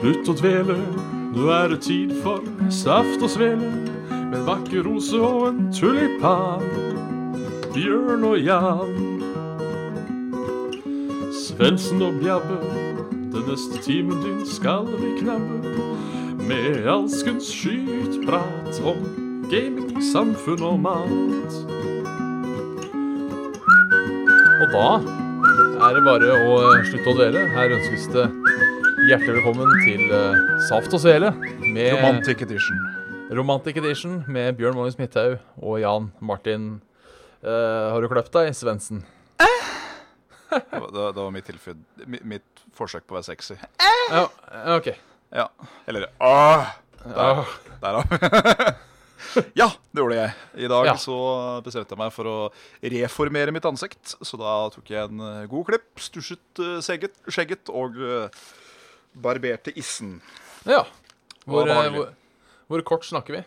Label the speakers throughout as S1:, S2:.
S1: Slutt å dvele, nå er det tid for saft og svele. Med en vakker rose og en tulipan. Bjørn og Jan. Svendsen og Bjabbe, den neste timen din skal vi knabbe. Med alskens skytprat om gaming, samfunn og mat.
S2: Og da er det bare å eh, slutte å dvele. Her ønskes det hjertelig velkommen til eh, Saft og Svele med
S3: Romantic edition.
S2: Romantic Edition med Bjørn Magnus Midthaug og Jan Martin eh, Har du kløpt deg, Svendsen?
S3: Det var, det var mitt, tilfud, mi- mitt forsøk på å være sexy.
S2: Ja, OK.
S3: Ja. Eller ah,
S2: Ja.
S3: Der, da. ja, det gjorde jeg. I dag
S2: Ja.
S3: så bestemte jeg meg for å reformere mitt ansikt. Så da tok jeg en eh, god klipp, stusjet eh, segget, skjegget og eh, barberte issen
S2: ja. Hvor,
S3: Det var
S2: eh,
S3: behagelig.
S2: hvor, hvor kort snakker vi?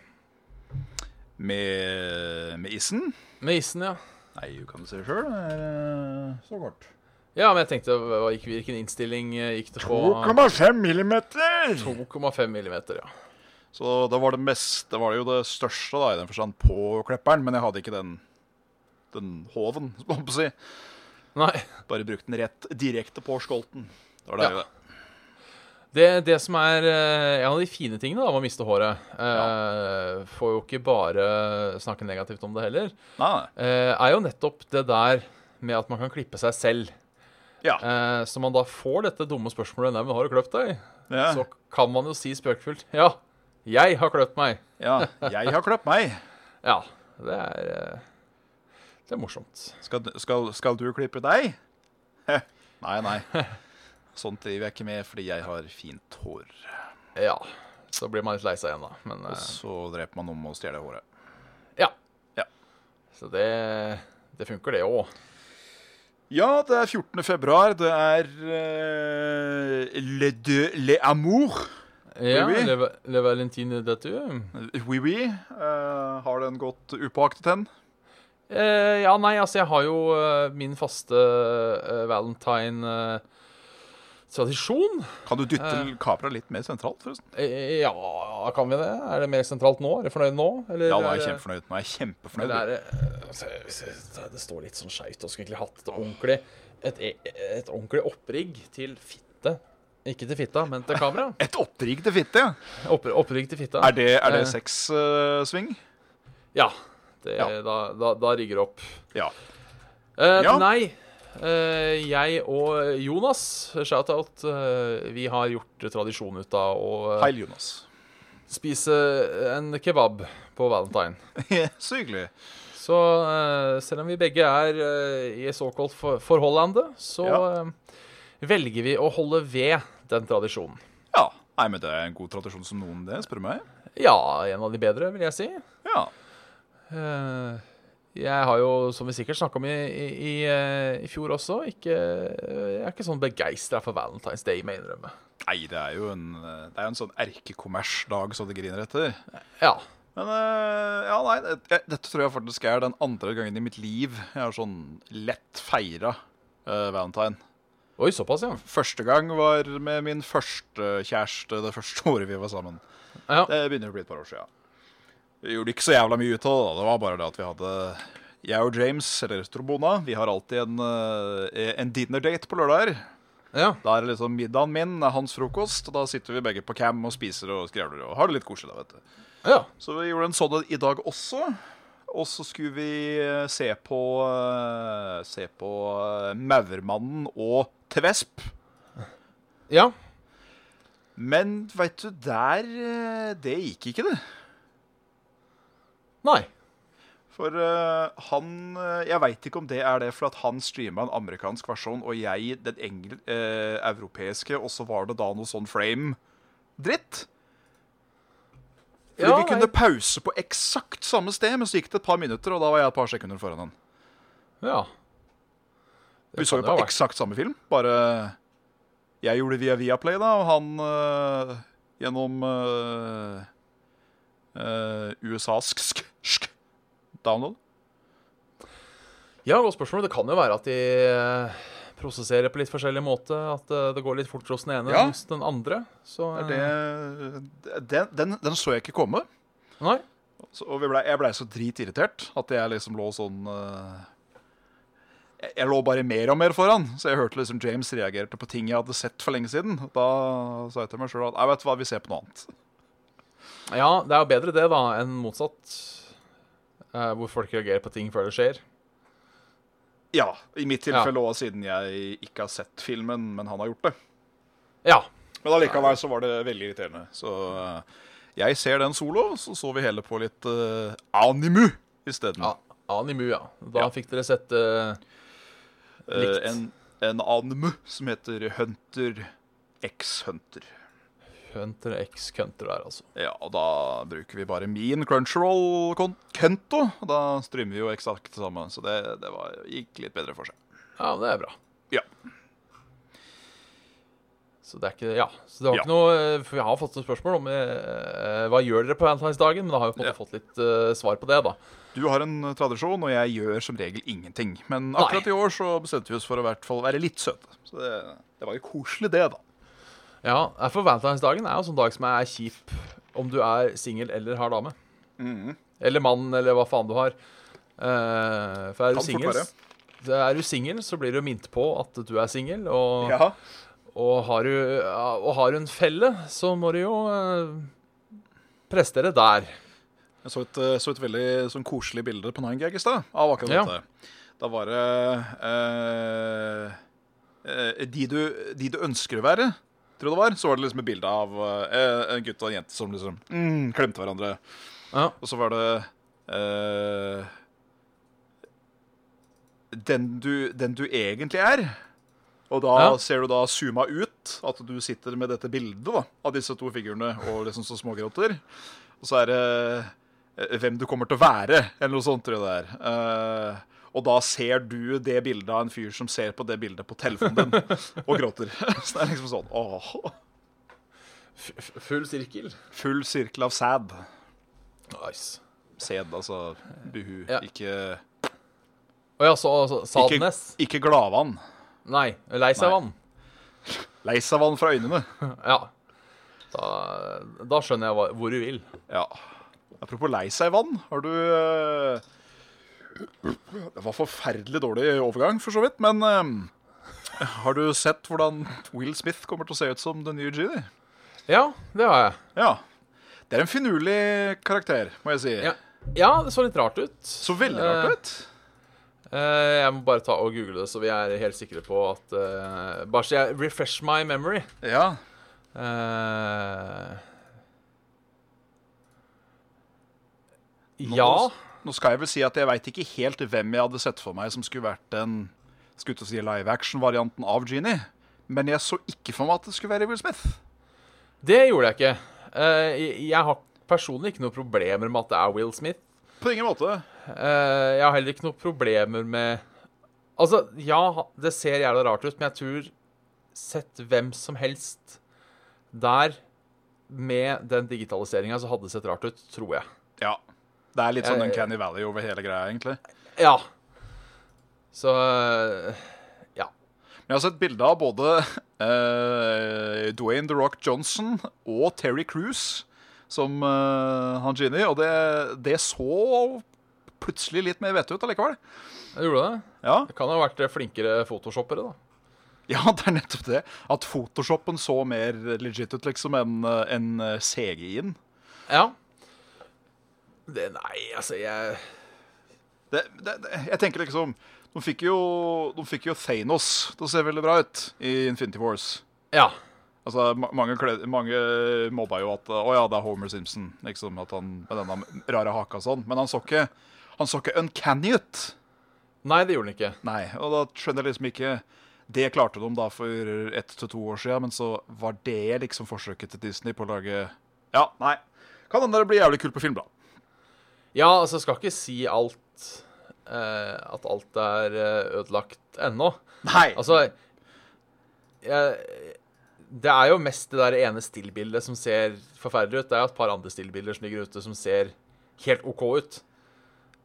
S3: med, med issen.
S2: Med isen, ja.
S3: Nei, du kan se sjøl. Det er eh, så kort.
S2: Ja, men jeg tenkte hva gikk, Hvilken innstilling eh, gikk det på?
S3: 2,5 millimeter!
S2: 2,5 millimeter, ja.
S3: Så da var det mest, det var jo det største da, i den forstand på klepperen, men jeg hadde ikke den, den hoven, som man på å si.
S2: Nei.
S3: Bare brukt den rett direkte på skolten. Det var deilig. det.
S2: Det, det som er eh, en av de fine tingene da, med å miste håret eh, Får jo ikke bare snakke negativt om det heller.
S3: Nei, nei.
S2: eh, er jo nettopp det der med at man kan klippe seg selv.
S3: Ja.
S2: Eh, så man da får dette dumme spørsmålet Nei, men har du kløpt deg?
S3: Ja.
S2: Så kan man jo si spøkefullt Ja, jeg har kløpt meg.
S3: ja, jeg har kløpt meg.
S2: Ja, det er eh, Det er morsomt.
S3: Skal, skal, skal du klippe deg? Heh. Nei, nei. Sånt driver jeg ikke med, fordi jeg har fint hår.
S2: Ja. Så blir man litt lei seg igjen, da. Men
S3: Og
S2: eh,
S3: så dreper man om å stjele håret.
S2: ja.
S3: Ja.
S2: Så det, det funker, det òg.
S3: Ja, det er 14. februar. Det er eh, Le Deux Le Amour.
S2: Ja,
S3: Oui, oui.
S2: le, le Valentine Datu.
S3: Oui, oui. Eh, har den gått upåaktet hen?
S2: Eh, ja, nei, altså jeg har jo eh, min faste eh, valentine-tradisjon.
S3: Kan du dytte kameraet litt mer sentralt, forresten?
S2: Eh, ja, kan vi det? Er det mer sentralt nå? Er du fornøyd nå? Eller,
S3: Ja, nå er jeg
S2: det-
S3: kjempefornøyd. Nå er jeg kjempefornøyd.
S2: Eller er det, eh, se, se, se, det står litt sånn skeivt. Og skulle egentlig hatt et ordentlig, et, e, et ordentlig opprigg til fitte. Ikke til fitta, men til kamera.
S3: Et opprig til fitte, ja.
S2: Opp, opprigg til fitta.
S3: Er det, er det
S2: Eh.
S3: sexsving?
S2: Ja. Det,
S3: Ja.
S2: Da, da, da rigger det opp.
S3: ja.
S2: Eh,
S3: Ja.
S2: Nei. Eh, jeg og Jonas, shout-out, eh, vi har gjort tradisjon ut av å eh,
S3: Heil Jonas.
S2: spise en kebab på valentine.
S3: Så hyggelig.
S2: Så eh, selv om vi begge er eh, i såkalt for forholdet, så
S3: Ja.
S2: eh, velger vi å holde ved den tradisjonen.
S3: Ja. Nei, men det er en god tradisjon som noen, det, spør du meg.
S2: Ja, en av de bedre, vil jeg si.
S3: Ja.
S2: Eh, jeg har jo, som vi sikkert snakka om i, i, i, eh, i fjor også, ikke, jeg er ikke sånn begeistra for Valentine's Day, må jeg innrømme.
S3: Nei, det er jo en, eh, det er jo en sånn erkekommersdag som det griner etter.
S2: Ja.
S3: Men eh, ja, nei, det, jeg- dette tror jeg faktisk er den andre gangen i mitt liv jeg har sånn lett feira eh, valentine.
S2: Oi, såpass, ja.
S3: Første gang var med min første kjæreste det første året vi var sammen.
S2: Ja.
S3: Det begynner å bli et par år siden. Vi gjorde ikke så jævla mye ut av det. da. Det var bare det at vi hadde Jeg og James, eller Strobona, vi har alltid en, eh, en dinner-date på lørdager.
S2: ja.
S3: Da er det liksom middagen min, er hans frokost, og da sitter vi begge på cam og spiser og skrevler og har det litt koselig. da, vet du.
S2: Ja.
S3: Så vi gjorde en sånn i dag også. Og så skulle vi eh, se på eh, Se på eh, Maurmannen og Tvesp.
S2: ja.
S3: Men veit du, der eh, Det gikk ikke, det.
S2: Nei.
S3: For eh, han eh, Jeg veit ikke om det er det, for at han streama en amerikansk versjon, og jeg den engel, eh, europeiske, og så var det da noe sånn frame-dritt. Fordi
S2: Ja,
S3: vi kunne pause på eksakt samme sted, men så gikk det et par minutter, og da var jeg et par sekunder foran han.
S2: Ja.
S3: Vi så jo
S2: kan det
S3: på
S2: ha vært.
S3: eksakt samme film, bare jeg gjorde det via Viaplay, da, og han eh, gjennom eh, uh, USAsk sk, sk, download.
S2: ja, godt spørsmål. Det kan jo være at de eh, prosesserer på litt forskjellig måte. At eh, det går litt fortere hos den ene
S3: Ja.
S2: enn hos den andre. Så
S3: Det er
S2: eh,
S3: det, den, den, den så jeg ikke komme.
S2: Nei.
S3: Så, og vi ble, jeg blei så dritirritert at jeg liksom lå sånn eh, jeg, jeg lå bare mer og mer foran, så jeg hørte liksom James reagerte på ting jeg hadde sett for lenge siden. Da sa jeg til meg sjøl at jeg vet du hva, vi ser på noe annet.
S2: Ja, det er jo bedre det da enn motsatt. eh, hvor folk reagerer på ting før det skjer.
S3: Ja, i mitt tilfelle òg, siden jeg ikke har sett filmen, men han har gjort det.
S2: Ja.
S3: Men allikevel så var det veldig irriterende. Så eh, jeg ser den solo, så så vi heller på litt eh, animu isteden.
S2: ja. Animu, ja. Da
S3: Ja.
S2: fikk dere sett eh,
S3: Eh,
S2: likt.
S3: en, en animu som heter Hunter x Hunter.
S2: Hunter x Hunter der, altså.
S3: Ja, og da bruker vi bare min Crunchyroll-konto. Da streamer vi jo eksakt sammen, så det, det var, gikk litt bedre for seg.
S2: Ja, men det er bra.
S3: Ja.
S2: Så det er ikke Ja. Så det var
S3: Ja.
S2: ikke noe eh, For jeg har fått noen spørsmål om eh, hva gjør dere på valentinsdagen, men da har jeg på en måte
S3: Ja.
S2: fått litt eh, svar på det, da.
S3: Du har en tradisjon, og jeg gjør som regel ingenting. Men akkurat i år så bestemte vi oss for å i hvert fall være litt søte. Så det, det var jo koselig, det, da.
S2: Ja, for valentinsdagen er jo en sånn dag som er kjip om du er singel eller har dame.
S3: Mm.
S2: Eller mann, eller hva faen du har. Eh, for er
S3: Kan
S2: du
S3: fort
S2: singel,
S3: være.
S2: er du singel, så blir du minnet på at du er singel. Og,
S3: Ja.
S2: og, har du, ja, og har du en felle, så må du jo eh, prestere der.
S3: Jeg så et, eh, så et veldig sånn koselig bilde på Nine Gag i stad av akkurat
S2: Ja.
S3: dette. Da var det eh, eh, de, du, de du ønsker å være, tror jeg det var. Så var det liksom et bilde av eh, en gutt og en jente som liksom mm, klemte hverandre.
S2: Ja.
S3: Og så var det eh, den, du, den du egentlig er. Og da
S2: Ja.
S3: ser du da zooma ut at du sitter med dette bildet da, av disse to figurene og liksom så smågråter. Og så er det eh, hvem du kommer til å være, eller noe sånt, tror jeg det er. Eh, og da ser du det bildet av en fyr som ser på det bildet på telefonen din og gråter. Så det er liksom sånn åh,
S2: F- f- Full sirkel.
S3: Full sirkel av sæd.
S2: Nice.
S3: Sæd, altså buhu.
S2: Ja.
S3: Ikke
S2: Og ja, så, så
S3: Ikke,
S2: Sadness.
S3: ikke gladvann.
S2: Nei. Lei seg
S3: Nei.
S2: vann.
S3: Lei seg vann fra øynene.
S2: Ja. Da, da skjønner jeg hva, hvor du vil.
S3: Ja. Apropos lei seg vann, har du eh, Det var forferdelig dårlig overgang, for så vidt, men eh, har du sett hvordan Will Smith kommer til å se ut som den nye Genie?
S2: Ja, det har jeg.
S3: Ja. Det er en finurlig karakter, må jeg si.
S2: Ja, ja det så litt rart ut.
S3: Så veldig rart ut.
S2: Eh, jeg må bare ta og google det, så vi er helt sikre på at eh, Bare så jeg refresh my memory.
S3: Ja.
S2: Eh,
S3: Nå-
S2: ja.
S3: Nå skal jeg vel si at jeg veit ikke helt hvem jeg hadde sett for meg som skulle vært den skulle til å si live action-varianten av Genie, men jeg så ikke for meg at det skulle være Will Smith.
S2: Det gjorde jeg ikke. Eh, jeg- jeg har personlig ikke noen problemer med at det er Will Smith.
S3: På ingen måte.
S2: Eh, jeg har heller ikke noen problemer med Altså, ja, det ser jævla rart ut, men jeg tror Sett hvem som helst der med den digitaliseringa så hadde det sett rart ut, tror jeg.
S3: Ja. Det er litt sånn
S2: Jeg-
S3: Uncanny Valley over hele greia, egentlig.
S2: Ja. Så eh, Ja.
S3: Men jeg har sett bilde av både eh, Dwayne The Rock Johnson og Terry Cruise som eh, han Genie, og det, det så plutselig litt mer vett ut allikevel.
S2: Jeg gjorde det.
S3: Ja.
S2: Det kan ha vært flinkere photoshoppere, da.
S3: ja, det er nettopp det. At photoshopen så mer legit ut liksom enn eh, enn, eh, CGI-en.
S2: Ja. Det, nei, altså, jeg
S3: Det, det, det, jeg tenker liksom de fikk, jo, de fikk jo Thanos til å se veldig bra ut i Infinity Wars.
S2: Ja.
S3: Altså, ma- mange, kled, mange mobba jo at Å ja, det er Homer Simpson. Liksom, at han med denne rare haka og sånn. Men han så ikke Han så ikke uncanny ut.
S2: Nei, det gjorde den ikke.
S3: Nei, og da skjønner jeg liksom ikke Det klarte de da for ett til to år siden, men så var det liksom forsøket til Disney på å lage Ja, nei. Kan hende det blir jævlig kult på film, da.
S2: Ja, altså, jeg skal ikke si alt eh, At alt er eh, ødelagt ennå.
S3: Nei.
S2: Altså jeg, Det er jo mest det der ene stillbildet som ser forferdelig ut. Det er jo et par andre stillbilder som ligger ute som ser helt OK ut.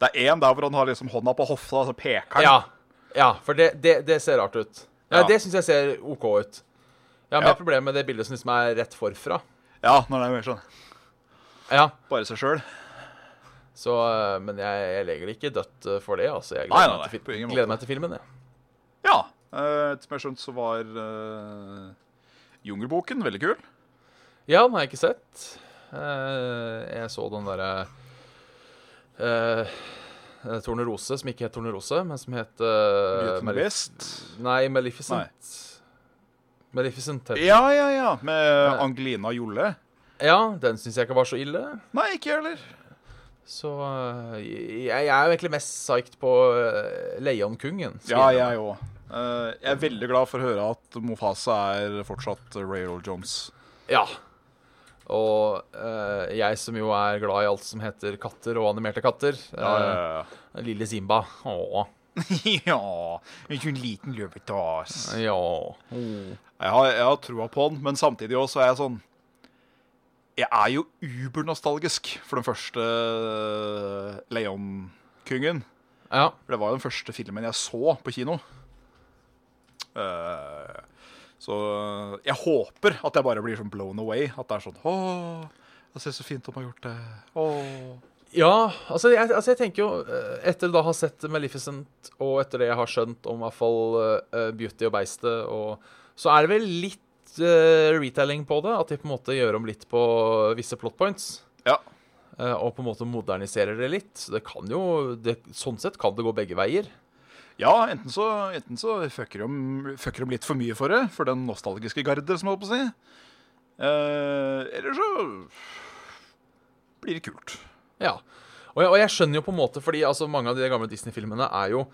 S3: det er én der hvor han har liksom hånda på hofta, og så peker han.
S2: Ja, ja for det, det, det ser rart ut. Nei,
S3: Ja.
S2: Det syns jeg ser OK ut. Jeg har
S3: Ja.
S2: mer problemer med det bildet som liksom er rett forfra.
S3: Ja, når det er mer sånn
S2: Ja,
S3: bare seg sjøl.
S2: så, eh, Men jeg, jeg legger det ikke dødt eh, for det. altså. Jeg
S3: Nei,
S2: gleder,
S3: nei, nei,
S2: meg, til
S3: på ingen
S2: fil-
S3: måte.
S2: gleder meg til filmen. Jeg.
S3: Ja. eh, Etter som jeg har skjønt, så var eh, Jungelboken veldig kul.
S2: Ja, den har jeg ikke sett. Eh, jeg så den derre uh, Tornerose, som ikke het Tornerose, men som het eh,
S3: Beauty and the
S2: Malef-
S3: Beast.
S2: Nei, Maleficent. Maleficent het
S3: Ja, ja, ja. Med Angelina Jolle.
S2: Ja, den syns jeg ikke var så ille.
S3: Nei, ikke jeg heller.
S2: Så øh, jeg, jeg er jo egentlig mest psyched på uh, Leonkongen. skal
S3: Ja,
S2: jeg innrømme.
S3: jeg òg. Eh, jeg er veldig glad for å høre at Mofasa er fortsatt Railroad Jones.
S2: ja. Og øh, jeg som jo er glad i alt som heter katter og animerte katter. øh,
S3: Ja,
S2: lille Simba. Åh.
S3: Eh, ja. ikke en liten løvetas.
S2: Ja.
S3: Jeg har, jeg har trua på han, men samtidig også er jeg sånn Jeg er jo ubernostalgisk for den første Leon-kongen.
S2: ja.
S3: For det var jo den første filmen jeg så på kino. Eh, så jeg håper at jeg bare blir sånn blown away. At det er sånn Åh, det ser så fint om jeg har gjort det. Åh.
S2: Ja, altså jeg, altså jeg tenker jo eh, Etter da å ha sett Maleficent, og etter det jeg har skjønt om i hvert fall eh, Beauty og Beistet, og så er det vel litt eh, retelling på det. At de på en måte gjør om litt på visse plot points.
S3: Ja.
S2: eh, og på en måte moderniserer det litt. Så Det kan jo det, Sånn sett kan det gå begge veier.
S3: Ja, enten så, enten så fucker, de, fucker de litt for mye for det, for den nostalgiske garde, som jeg holdt på å si. Eh, eller så blir det kult.
S2: Ja. Og jeg, og jeg skjønner jo på en måte, fordi altså, mange av de gamle Disney-filmene er jo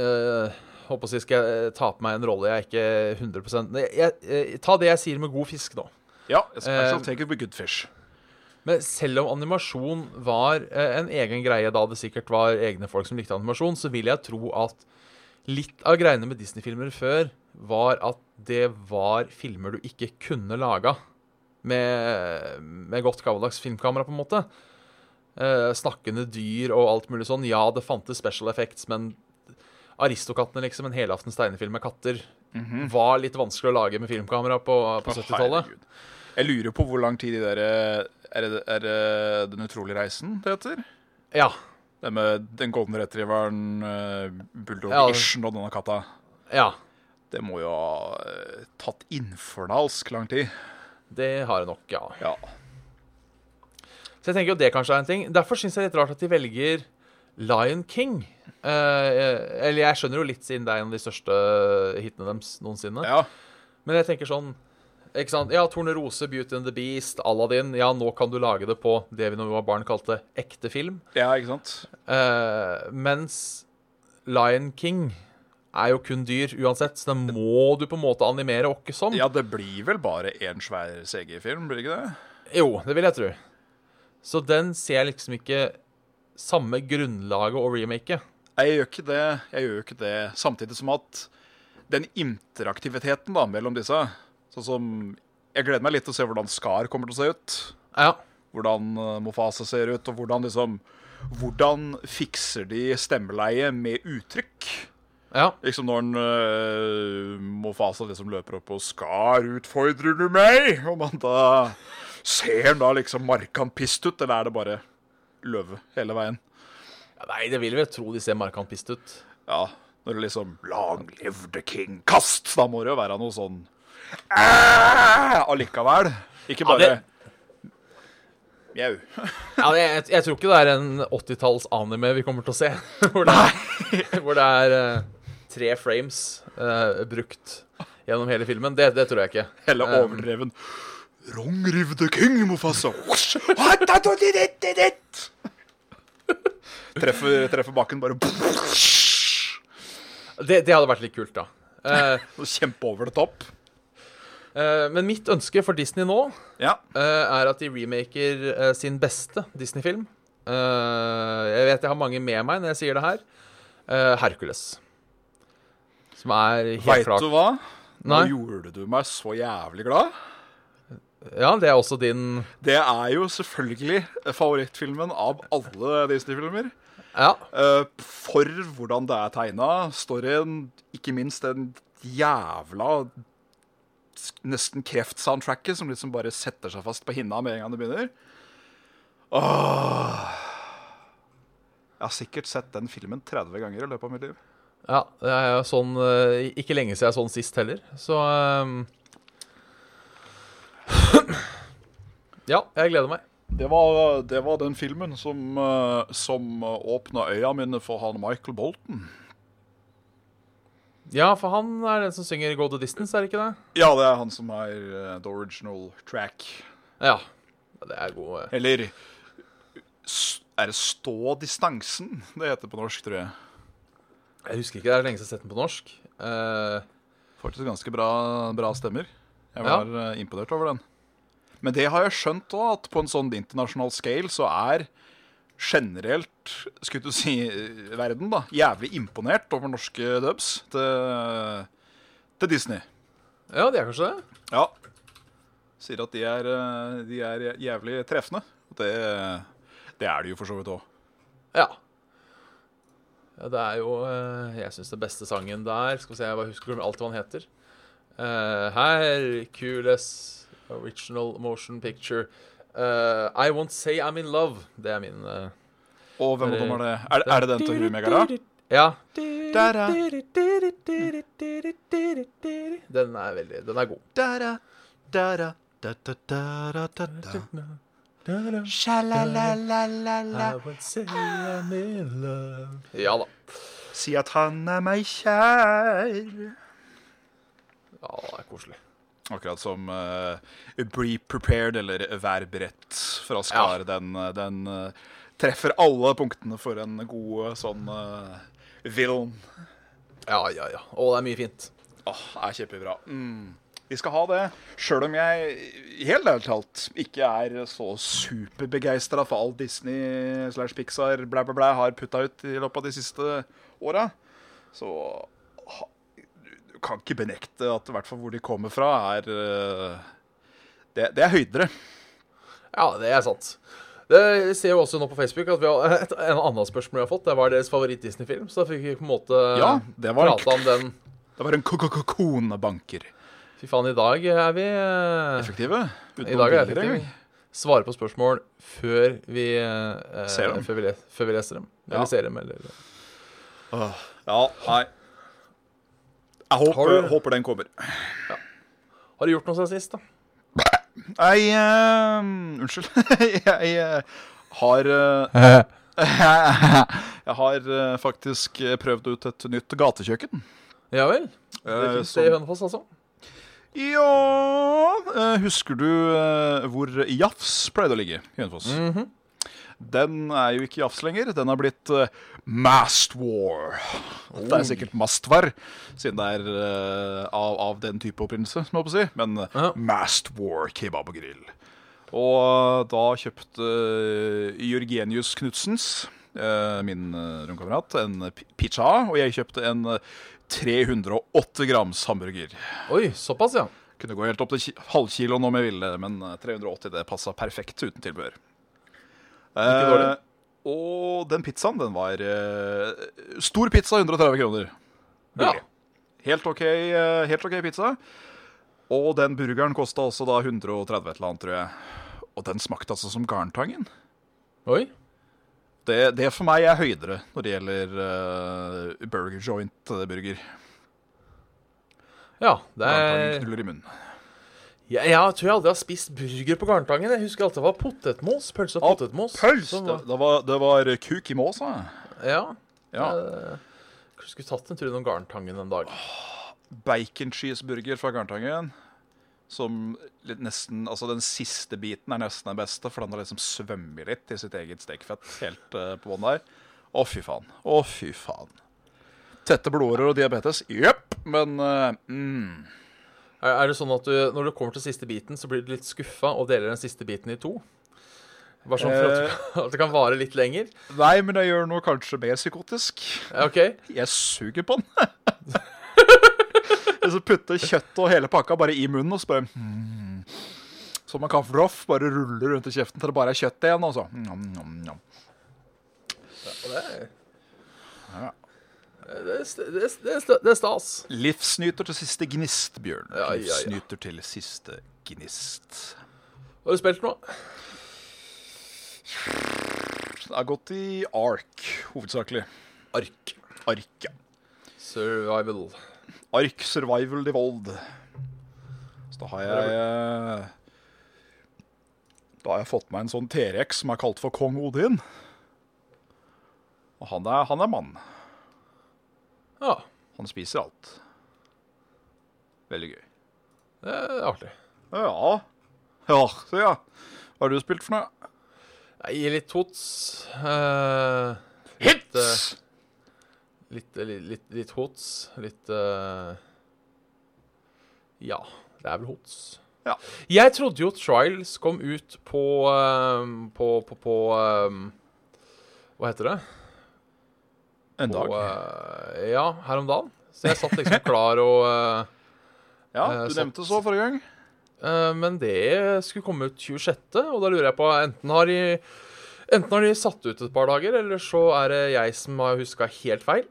S2: eh, Håper å si skal jeg eh, ta på meg en rolle jeg ikke 100 Nei, jeg, jeg, Ta det jeg sier med god fisk nå.
S3: Ja, I shall
S2: Eh,
S3: take it with good fish.
S2: Men selv om animasjon var eh, en egen greie da det sikkert var egne folk som likte animasjon, så vil jeg tro at litt av greiene med Disney-filmer før var at det var filmer du ikke kunne laga med, med godt gammeldags filmkamera, på en måte. Eh, snakkende dyr og alt mulig sånn. Ja, det fantes special effects, men Aristokattene, liksom, en helaftens tegnefilm med katter, var litt vanskelig å lage med filmkamera mhm. på, på
S3: Å,
S2: 70-tallet.
S3: herregud. Jeg lurer på hvor lang tid de der eh, Er det, er det Den utrolige reisen det heter?
S2: Ja.
S3: Det med den golden retrieveren, uh, bulldog-ishen og denne katta.
S2: Ja.
S3: Det må jo ha eh, tatt infernalsk lang tid.
S2: Det har jeg nok, ja.
S3: Ja.
S2: Så jeg tenker jo det kanskje er en ting. Derfor syns jeg det er litt rart at de velger Lion King. Eh, eh, eller jeg skjønner jo litt, siden det er en av de største hitene deres noensinne.
S3: ja.
S2: Men jeg tenker sånn ikke sant? Ja, Tornerose, Beauty and the Beast, Aladdin. Ja, nå kan du lage det på det vi når vi var barn kalte ekte film.
S3: Ja, ikke sant?
S2: Eh, mens Lion King er jo kun dyr uansett, så den må du på en måte animere sånn. åkke som.
S3: Ja, det blir vel bare én svær CG-film, blir det ikke det?
S2: Jo, det vil jeg tro. Så den ser jeg liksom ikke samme grunnlaget å remake.
S3: Jeg gjør ikke det. Jeg gjør ikke det. Samtidig som at den interaktiviteten da, mellom disse Sånn som Jeg gleder meg litt til å se hvordan Skar kommer til å se ut.
S2: Ja.
S3: Hvordan eh, Mofasa ser ut, og hvordan liksom Hvordan fikser de stemmeleie med uttrykk?
S2: ja.
S3: Liksom når en, eh, Mofasa liksom løper opp og 'Skar, utfordrer du meg?' Og man da Ser han da liksom markant pissed ut, eller er det bare løve hele veien?
S2: Nei, det vil jeg vel tro de ser markant pissed ut.
S3: Ja, når det liksom Long live the king, kast! Da må det jo være noe sånn «Æ!» Allikevel. Ikke
S2: Ja,
S3: bare
S2: det-
S3: Mjau.
S2: Ja, det- jeg, jeg tror ikke det er en 80-talls anime vi kommer til å se. Hvor det, hvor det er eh, tre frames eh, brukt gjennom hele filmen. Det, det tror jeg ikke.
S3: Hele
S2: Eh,
S3: overdreven Long live the king, Mofasa. Whoosh! Hatatotidittiditt! Treffer, treffer bakken bare
S2: Det, det hadde vært litt kult, da. Eh,
S3: Kjempe over det topp.
S2: eh, men mitt ønske for Disney nå
S3: Ja.
S2: eh, er at de remaker eh, sin beste Disney-film. Eh, jeg vet jeg har mange med meg når jeg sier det her. Eh, Hercules. Som er helt
S3: Veit
S2: klart
S3: du hva? Nå
S2: Nei.
S3: gjorde du meg så jævlig glad.
S2: Ja, det er også din
S3: Det er jo selvfølgelig favorittfilmen av alle Disney-filmer.
S2: Ja.
S3: Eh, for hvordan det er tegna, storyen, ikke minst den jævla s- nesten kreftsoundtracket som liksom bare setter seg fast på hinna med en gang det begynner. Åh. Jeg har sikkert sett den filmen 30 ganger i løpet av mitt liv.
S2: Ja, det er jo sånn eh, Ikke lenge siden jeg sånn sist heller, så ehm. Ja, jeg gleder meg.
S3: Det var, det var den filmen som, eh, som åpna øya mine for han Michael Bolton.
S2: Ja, for han er den som synger Go the Distance, er det ikke det?
S3: Ja, det er han som er eh, the original track.
S2: Ja. Det er god eh.
S3: Eller s- er det stå distansen det heter på norsk, tror jeg.
S2: Jeg husker ikke, det er lenge siden jeg har sett den på norsk. Eh,
S3: Faktisk ganske bra, bra stemmer. Jeg
S2: Ja.
S3: var eh, imponert over den. Men det har jeg skjønt òg, at på en sånn internasjonal scale så er generelt, skulle du si, eh, verden da, jævlig imponert over norske dubs til, til Disney.
S2: Ja, det er kanskje det.
S3: Ja. Sier at de er, eh, de er jævlig treffende. Og Det, det er de jo for så vidt òg.
S2: Ja. Ja, Det er jo eh, Jeg syns den beste sangen der Skal vi se, jeg bare husker ikke alltid hva den heter. Eh, Hercules Original Motion Picture. Eh, I Won't Say I'm In Love. Det er min eh,
S3: Og hvem av dem er det? Er, er det den til Guri Megara?
S2: Ja.
S3: Der, ja.
S2: Den er veldig Den er god.
S3: Da-da, da-da, da-da-da-da-da.
S2: I won't say I'm in love. Ja da.
S3: Si at han er meg kjær.
S2: Ja, det er koselig.
S3: Akkurat som eh, Be Prepared eller Vær beredt fra Skar. Den, eh, den eh, treffer alle punktene for en god eh, sånn uh, villain.
S2: Ja, ja, ja. Å, det er mye fint.
S3: Åh, er kjempebra. Mm. Vi skal ha det, sjøl om jeg helt ærlig talt ikke er så superbegeistra for alt Disney slash Pixar blæ, blæ, blæ har putta ut i løpet av de siste åra. Så ha- du du kan ikke benekte at i hvert fall hvor de kommer fra, er eh, det, det er høydere.
S2: Ja, det er sant. Det vi ser jo også nå på Facebook at vi har et en annen spørsmål vi har fått. Det var deres favoritt-Disney-film, så da fikk vi på en måte
S3: Ja, det var,
S2: prate om den.
S3: det var en ko- ko- ko- konebanker.
S2: Fy faen, i dag er vi eh,
S3: Effektive?
S2: I dag er
S3: noen bilder
S2: effektive.
S3: engang.
S2: Svarer på spørsmål før vi, eh,
S3: Ser dem.
S2: Før vi, le- før vi leser dem. Eller
S3: Ja.
S2: ser dem, eller
S3: Åh, Ja, nei. Jeg håper,
S2: Har du-
S3: håper den kommer.
S2: Har du gjort noe siden sist, da?
S3: Jeg eh, Unnskyld. jeg eh, har eh, Jeg har eh, faktisk eh, prøvd ut et nytt gatekjøkken.
S2: Ja vel? Det
S3: Eh,
S2: fins det i
S3: som-
S2: Hønefoss, altså?
S3: Ja eh, Husker du eh, hvor Jafs pleide å ligge i Hønefoss? Den er jo ikke Jafs lenger. Den har blitt eh, Mastwar. Det er sikkert Mastvar, siden det er eh, av, av den type opprinnelse, må jeg på å si. Men eh,
S2: Ja.
S3: Mastwar kebab og grill. Og eh, da kjøpte eh, Jørgenius Knutsens, eh, min eh, romkamerat, en pi- pizza. Og jeg kjøpte en eh, 308 grams hamburger.
S2: Oi, såpass, ja.
S3: Kunne gå helt opp til ki- halvkiloen om jeg ville, men eh, 380 det passa perfekt uten tilbehør. Eh,
S2: dårlig.
S3: og den pizzaen, den var eh, Stor pizza, 130 kroner.
S2: ja.
S3: Billig. Helt OK, eh, helt ok pizza. Og den burgeren kosta også da 130 et eller annet, tror jeg. Og den smakte altså som Garntangen.
S2: Oi.
S3: Det, det for meg er høydere når det gjelder eh, burger joint eh, burger.
S2: Ja, det
S3: Garntangen
S2: er
S3: knuller i munnen.
S2: Jeg, jeg tror jeg aldri har spist burger på Garntangen. Jeg husker alltid det var potetmos. Pølse og potetmos.
S3: Pølse!
S2: som
S3: Det,
S2: var-
S3: det, var- det var kuk i måsa.
S2: Ja.
S3: Ja.
S2: Eh, Kanskje skulle tatt en tur innom Garntangen en dag.
S3: bacon cheeseburger fra Garntangen. Som litt nesten, altså Den siste biten er nesten den beste, for den har liksom svømmer litt i sitt eget stekfett. helt eh, på bånn der. Å, fy faen. Å, fy faen. Tette blodårer og diabetes. Jepp. Men eh, mm.
S2: Er, er det sånn at du, når du kommer til siste biten, så blir du litt skuffa og deler den siste biten i to? Bare sånn for at, du, kan- at det kan vare litt lenger?
S3: Nei, men det gjør noe kanskje mer psykotisk.
S2: Ja, OK.
S3: Jeg suger på den. Jeg så putter kjøttet og hele pakka bare i munnen og så bare mm. Som en kaffeloff. Bare ruller rundt i kjeften til det bare er kjøtt igjen. Altså. Nom, nom, nom.
S2: Og det er- Det, er st- det, er st- det, er st- det er stas.
S3: Livsnyter til siste gnist, Bjørn.
S2: Ja, ja, ja.
S3: Livsnyter til siste gnist.
S2: Har du spilt noe?
S3: Det er gått i ark, hovedsakelig.
S2: Ark.
S3: Ark, ja.
S2: Survival.
S3: Ark Survival Devolved. Så da har jeg eh, Da har jeg fått meg en sånn T-rex som er kalt for kong Odin. Og han er, han er mann.
S2: Ja,
S3: Han spiser alt. Veldig gøy.
S2: det er artig.
S3: Ja. Ja, så ja. Hva har du spilt for noe?
S2: Jeg gir litt tots. eh,
S3: Hits!
S2: litt, eh, litt, litt, litt hots. Litt eh, Ja, det er vel hots.
S3: Ja.
S2: Jeg trodde jo Trials kom ut på eh, På, på, på eh, Hva heter det?
S3: En dag.
S2: På, eh, ja, her om dagen. Så jeg satt liksom klar og eh,
S3: Ja,
S2: eh,
S3: du
S2: satt-
S3: nevnte så forrige gang.
S2: Eh, Men det skulle komme ut 26., og da lurer jeg på Enten har de, enten har de satt ut et par dager, eller så er det jeg som har huska helt feil.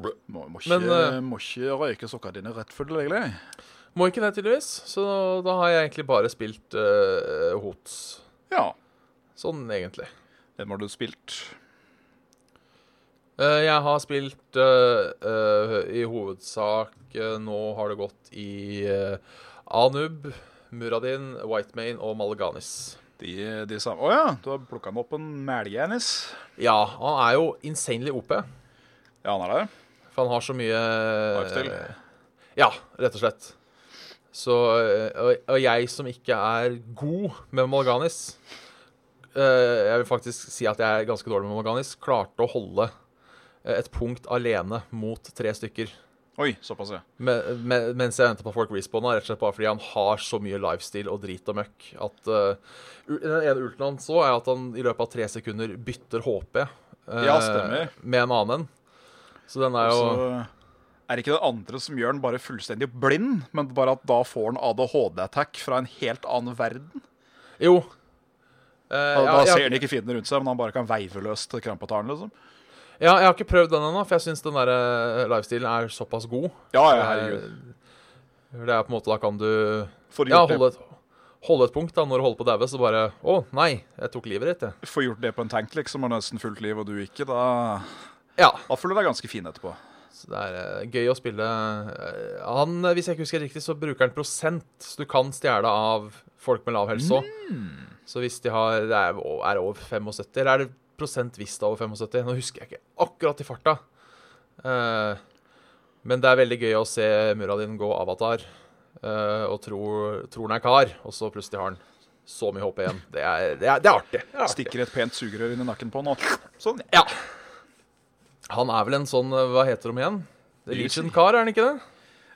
S3: Må, må, ikke,
S2: Men, eh,
S3: må ikke røyke sokkene dine rett før du legger deg.
S2: Må ikke det, tydeligvis. Så da har jeg egentlig bare spilt eh, Hots.
S3: Ja.
S2: Sånn, egentlig.
S3: Hvem har du spilt?
S2: Eh, jeg har spilt eh, eh, i hovedsak eh, Nå har det gått i eh, Anub, Muradin, Whitemane og Malaganis.
S3: De, de samme Å ja, du har plukka han opp en mæljenis.
S2: Ja, han er jo insanely OP,
S3: Ja, han er der.
S2: for han har så mye eh,
S3: Lifestyle.
S2: Ja, rett og slett. Så, eh, og, og jeg som ikke er god med Malganis eh, Jeg vil faktisk si at jeg er ganske dårlig med Malganis. Klarte å holde eh, et punkt alene mot tre stykker.
S3: Oi, såpass, ja.
S2: Me- me- mens jeg venter på at folk respawna, rett og slett bare fordi han har så mye lifestyle og drit og møkk at eh, u- Den ene ulten han så, er at han i løpet av tre sekunder bytter HP eh,
S3: Ja, stemmer.
S2: med en annen. Så den er jo
S3: Så er det ikke den andre som gjør han bare fullstendig blind, men bare at da får han ADHD-attack fra en helt annen verden.
S2: Jo. Eh,
S3: Da,
S2: ja,
S3: da ser
S2: jeg,
S3: han ikke fienden rundt seg, men han bare kan veive løs til krampetaren, liksom.
S2: ja, jeg har ikke prøvd den ennå, for jeg syns den der eh, livestilen er såpass god.
S3: Ja, ja, herregud.
S2: Eh, Det er på en måte Da kan du
S3: Får
S2: ja,
S3: gjort,
S2: holde et, holde et punkt da når du holder på å daue, så bare Å, nei, jeg tok livet ditt, jeg.
S3: det, får gjort det på en tank, liksom, og nesten fullt liv, og du ikke, da,
S2: Ja.
S3: da føler du deg ganske fin etterpå.
S2: Så det er eh, gøy å spille eh, Han, eh, hvis jeg ikke husker riktig, så bruker han prosent så du kan stjele av folk med lav helse òg. Så hvis de har det er, o- er over 75, eller er det prosent hvis det er over 75? Nå husker jeg ikke akkurat i farta. Eh, men det er veldig gøy å se Muradin gå avatar eh, og tro, tror han er kar, og så plutselig har han så mye HP igjen. Det er, det er, det er artig. Det er artig.
S3: Stikker et pent sugerør inn i nakken på han, og sånn.
S2: Ja. Han er vel en sånn eh, Hva heter de igjen? Legion-kar, er han ikke det?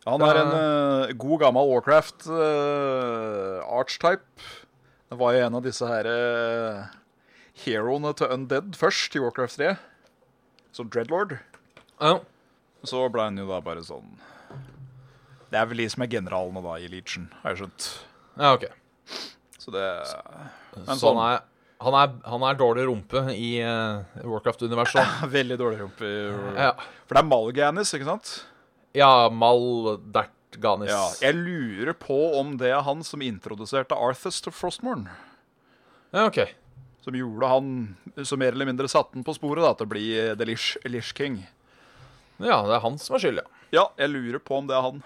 S3: Ja, Han er en eh, god gammel Warcraft uh, archetype. Det var jo en av disse her eh, heroene til Undead først i Warcraft 3, som Dreadlord.
S2: Ja.
S3: Så ble han jo da bare sånn Det er vel de som er generalene da i Legion, har jeg skjønt.
S2: Ja, ok.
S3: Så det Men
S2: Så
S3: sånn
S2: han er, han er, han er dårlig rumpe i eh, Warcraft-universet. også.
S3: Veldig dårlig rumpe.
S2: Ja.
S3: For det er Malganis, ikke sant?
S2: ja, Mal Dert Ganis.
S3: Ja, jeg lurer på om det er han som introduserte Arthus til Frostmourne.
S2: Ja, ok.
S3: Som gjorde han Som mer eller mindre satte han på sporet da til å bli eh, The Lish, Lish King.
S2: Ja, det er han som er skyld, ja.
S3: Ja, jeg lurer på om det er han.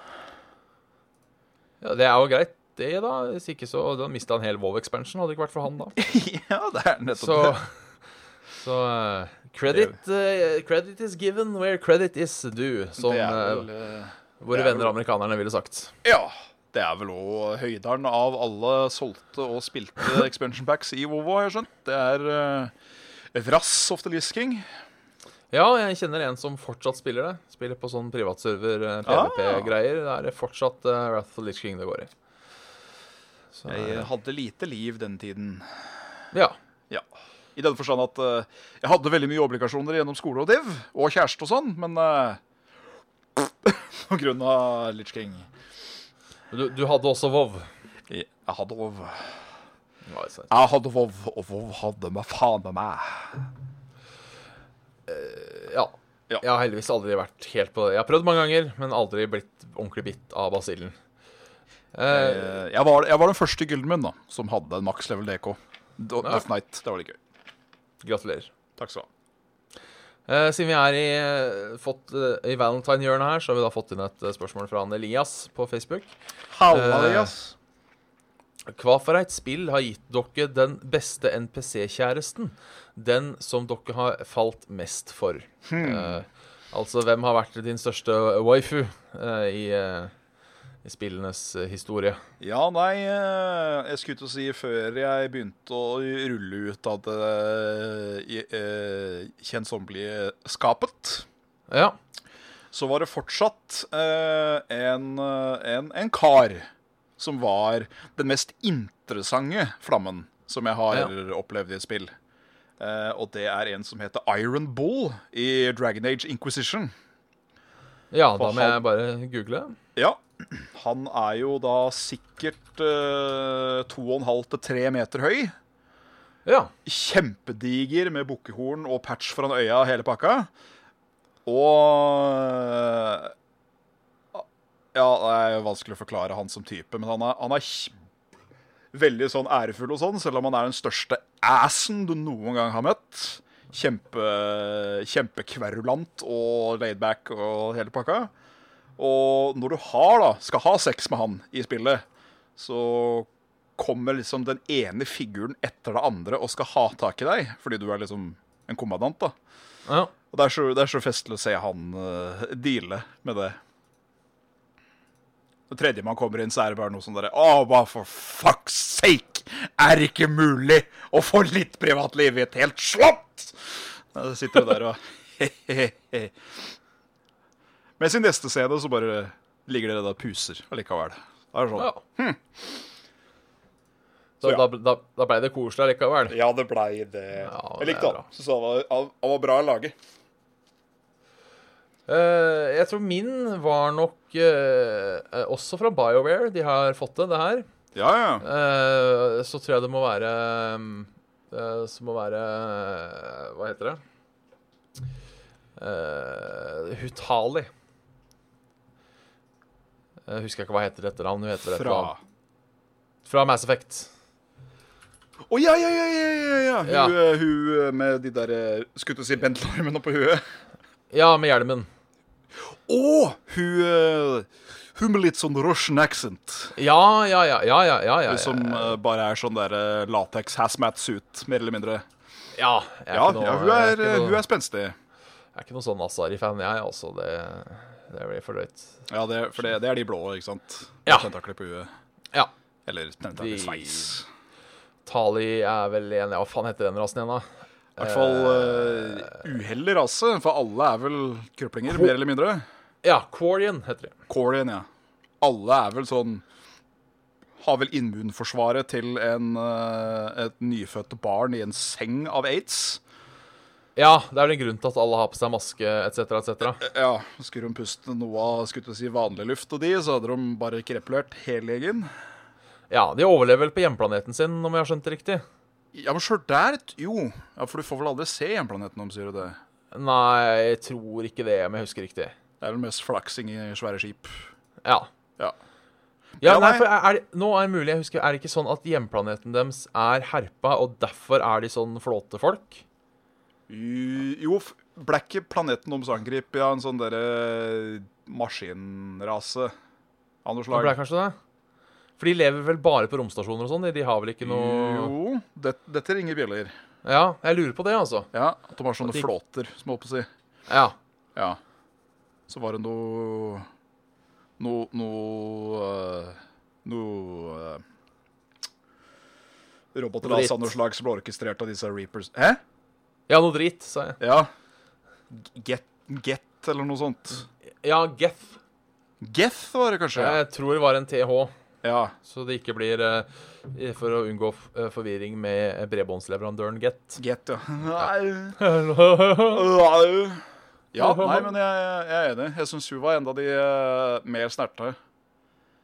S2: ja. Det er jo greit, det, da. Hvis ikke så Da mista han hele WoW-expansion, hadde det ikke vært for han, da.
S3: ja, det er nettopp
S2: Så
S3: det.
S2: så eh, credit, eh, credit is given where credit is due, som
S3: det er
S2: eh,
S3: vel, eh,
S2: våre
S3: det er
S2: venner amerikanerne ville sagt.
S3: ja. Det er vel òg høyderen av alle solgte og spilte expansion packs i Vovo, har jeg skjønt. Det er eh, Vrass of the Lish King.
S2: Ja, jeg kjenner en som fortsatt spiller det. Spiller på sånn privatserver, eh,
S3: Ah.
S2: PVP-greier. Det er det fortsatt uh, Wrath of the Lich King det går i. Så,
S3: Jeg hadde lite liv den tiden.
S2: ja.
S3: Ja. I den forstand at eh, jeg hadde veldig mye obligasjoner gjennom skole og div, og kjæreste og sånn, men eh, på grunn av Litch King
S2: Du, du hadde også WoW.
S3: Jeg hadde vov.
S2: Ja, det er sant.
S3: Jeg hadde vov, og vov hadde meg faen med meg.
S2: Ja. Jeg har heldigvis aldri vært helt på det. Jeg har prøvd mange ganger, men aldri blitt ordentlig bitt av basillen. Eh,
S3: Eh, Jeg var, jeg var den første Gyldenmund da, som hadde en maks level DK. Da- Death Knight, det var litt gøy.
S2: gratulerer.
S3: Takk skal du ha.
S2: Eh, siden vi er i, eh, fått, eh, i valentine-hjørnet her, så har vi da fått inn et eh, spørsmål fra han Elias på Facebook.
S3: Halla,
S2: Eh,
S3: Elias.
S2: Hva for et spill har gitt dere den beste NPC-kjæresten? Den som dere har falt mest for. Eh, altså, hvem har vært din største waifu eh, i, eh, i spillenes eh, historie?
S3: Ja, nei, eh, jeg skulle til å si før jeg begynte å rulle ut av det eh, kjensommelige skapet,
S2: Ja.
S3: så var det fortsatt eh, en, eh, en, en kar som var den mest interessante flammen som jeg har opplevd i et spill. Eh, og det er en som heter Iron Bull i Dragon Age Inquisition.
S2: ja, da må
S3: han-
S2: jeg bare google.
S3: Ja, han er jo da sikkert eh, to og en halv til tre meter høy.
S2: Ja.
S3: Kjempediger med bukkehorn og patch foran øya og hele pakka. Og Ja, det er vanskelig å forklare han som type, men han er, han er kj- veldig sånn ærefull og sånn, selv om han er den største assen du noen gang har møtt. Kjempe, Kjempekverulant og laidback og hele pakka. Og når du har da, skal ha sex med han i spillet, så kommer liksom den ene figuren etter det andre og skal ha tak i deg, fordi du er liksom en kommandant. da.
S2: ja.
S3: Og Det er så, det er så festlig å se han eh, deale med det. Når tredjemann kommer inn, så er det bare noe sånn derre Å, hva for fuck's sake! Er det ikke mulig å få litt privatliv i et helt slott?! Ja, Da sitter du der og he-he-he. Med sin neste scene så bare ligger dere der og puser allikevel. Det er sånn.
S2: ja.
S3: Så
S2: Så
S3: ja.
S2: da, da, da ble det koselig likevel.
S3: Ja, det blei det.
S2: det
S3: jeg
S2: er
S3: likte han.
S2: bra.
S3: Synes han var, han- han var bra å lage.
S2: Eh, jeg tror min var nok eh, eh, også fra BioWare. De har fått det, det her.
S3: Ja, ja.
S2: Eh, så tror jeg det må være um, eh, Så må være eh, Hva heter det? Eh, Hutali. Jeg husker ikke hva heter etter han. Hun heter
S3: Fra
S2: Fra. Fra Mass Effect.
S3: Å ja, ja, ja, ja, ja, ja. Hun,
S2: Ja.
S3: eh, hun eh, med de der eh, Skulle til å si bentelarmene på huet.
S2: Ja, med hjelmen.
S3: Å! hun eh, Hun med litt sånn Russian accent.
S2: Ja, ja, ja. ja, ja, ja, ja,
S3: Som
S2: ja.
S3: eh, bare er sånn der eh, latex hazmat suit, mer eller mindre.
S2: ja, jeg er
S3: Ja,
S2: ikke noe-
S3: ja hun,
S2: jeg
S3: er,
S2: ikke
S3: eh,
S2: noe-
S3: hun er spenstig.
S2: Jeg er ikke noen sånn Asari-fan, jeg, altså. Det, det blir for drøyt.
S3: Ja, det, for det, det er de blå, ikke sant?
S2: Ja.
S3: Tentakler på huet.
S2: Ja.
S3: Eller
S2: De-
S3: tentakelsveis.
S2: Tali er vel en Ja, hva faen heter den rasen igjen, da?
S3: I hvert fall eh, uheldig rase, for alle er vel krøplinger, mer eller mindre.
S2: Ja, Quarian heter de.
S3: Corian, ja. Alle er vel sånn Har vel immunforsvaret til en, eh, et nyfødt barn i en seng av aids.
S2: Ja, det er vel en grunn til at alle har på seg maske etc., etc.
S3: Ja, Skulle de puste noe av skulle til å si, vanlig luft og de, så hadde de bare krepulert hele gjengen.
S2: Ja, de overlever vel på hjemplaneten sin, om jeg har skjønt det riktig?
S3: Ja, men sjøl der Jo, ja, for du får vel aldri se hjemplaneten om, sier du det.
S2: Nei, jeg tror ikke det, om jeg husker riktig.
S3: Det er vel mest flaksing i svære skip.
S2: Ja.
S3: Ja. Ja,
S2: Ja, nei,
S3: nei.
S2: for er, er, det- nå er det mulig jeg husker, er det ikke sånn at hjemplaneten deres er herpa, og derfor er de sånn flåtefolk?
S3: Jo, f- ble ikke planeten deres angrepet av en sånn derre maskinrase av noe
S2: Det
S3: slag?
S2: ble kanskje det? For de lever vel bare på romstasjoner og sånn? de- De har vel ikke noe
S3: Jo, det, dette ringer bjeller.
S2: Ja, jeg lurer på det, altså.
S3: Ja, at de har sånne
S2: At de-
S3: flåter, som jeg holdt på å si.
S2: Ja.
S3: Ja. Så var det noe Noe Noe øh, Noe øh, Roboter av
S2: Dritt.
S3: sånne slag som ble orkestrert av disse Reapers. Hæ?
S2: Ja, noe drit, sa jeg.
S3: Ja. Get, get, eller noe sånt.
S2: Mm. Ja, Geth.
S3: Geth var det kanskje?
S2: Jeg tror det var en TH.
S3: Ja.
S2: Så det ikke blir eh, For å unngå f- eh, forvirring med bredbåndsleverandøren Get.
S3: Get, ja. Nei.
S2: ja,
S3: Øh. Ja, nei, men jeg, jeg er enig. Jeg syns hun var enda de eh, mer snerte.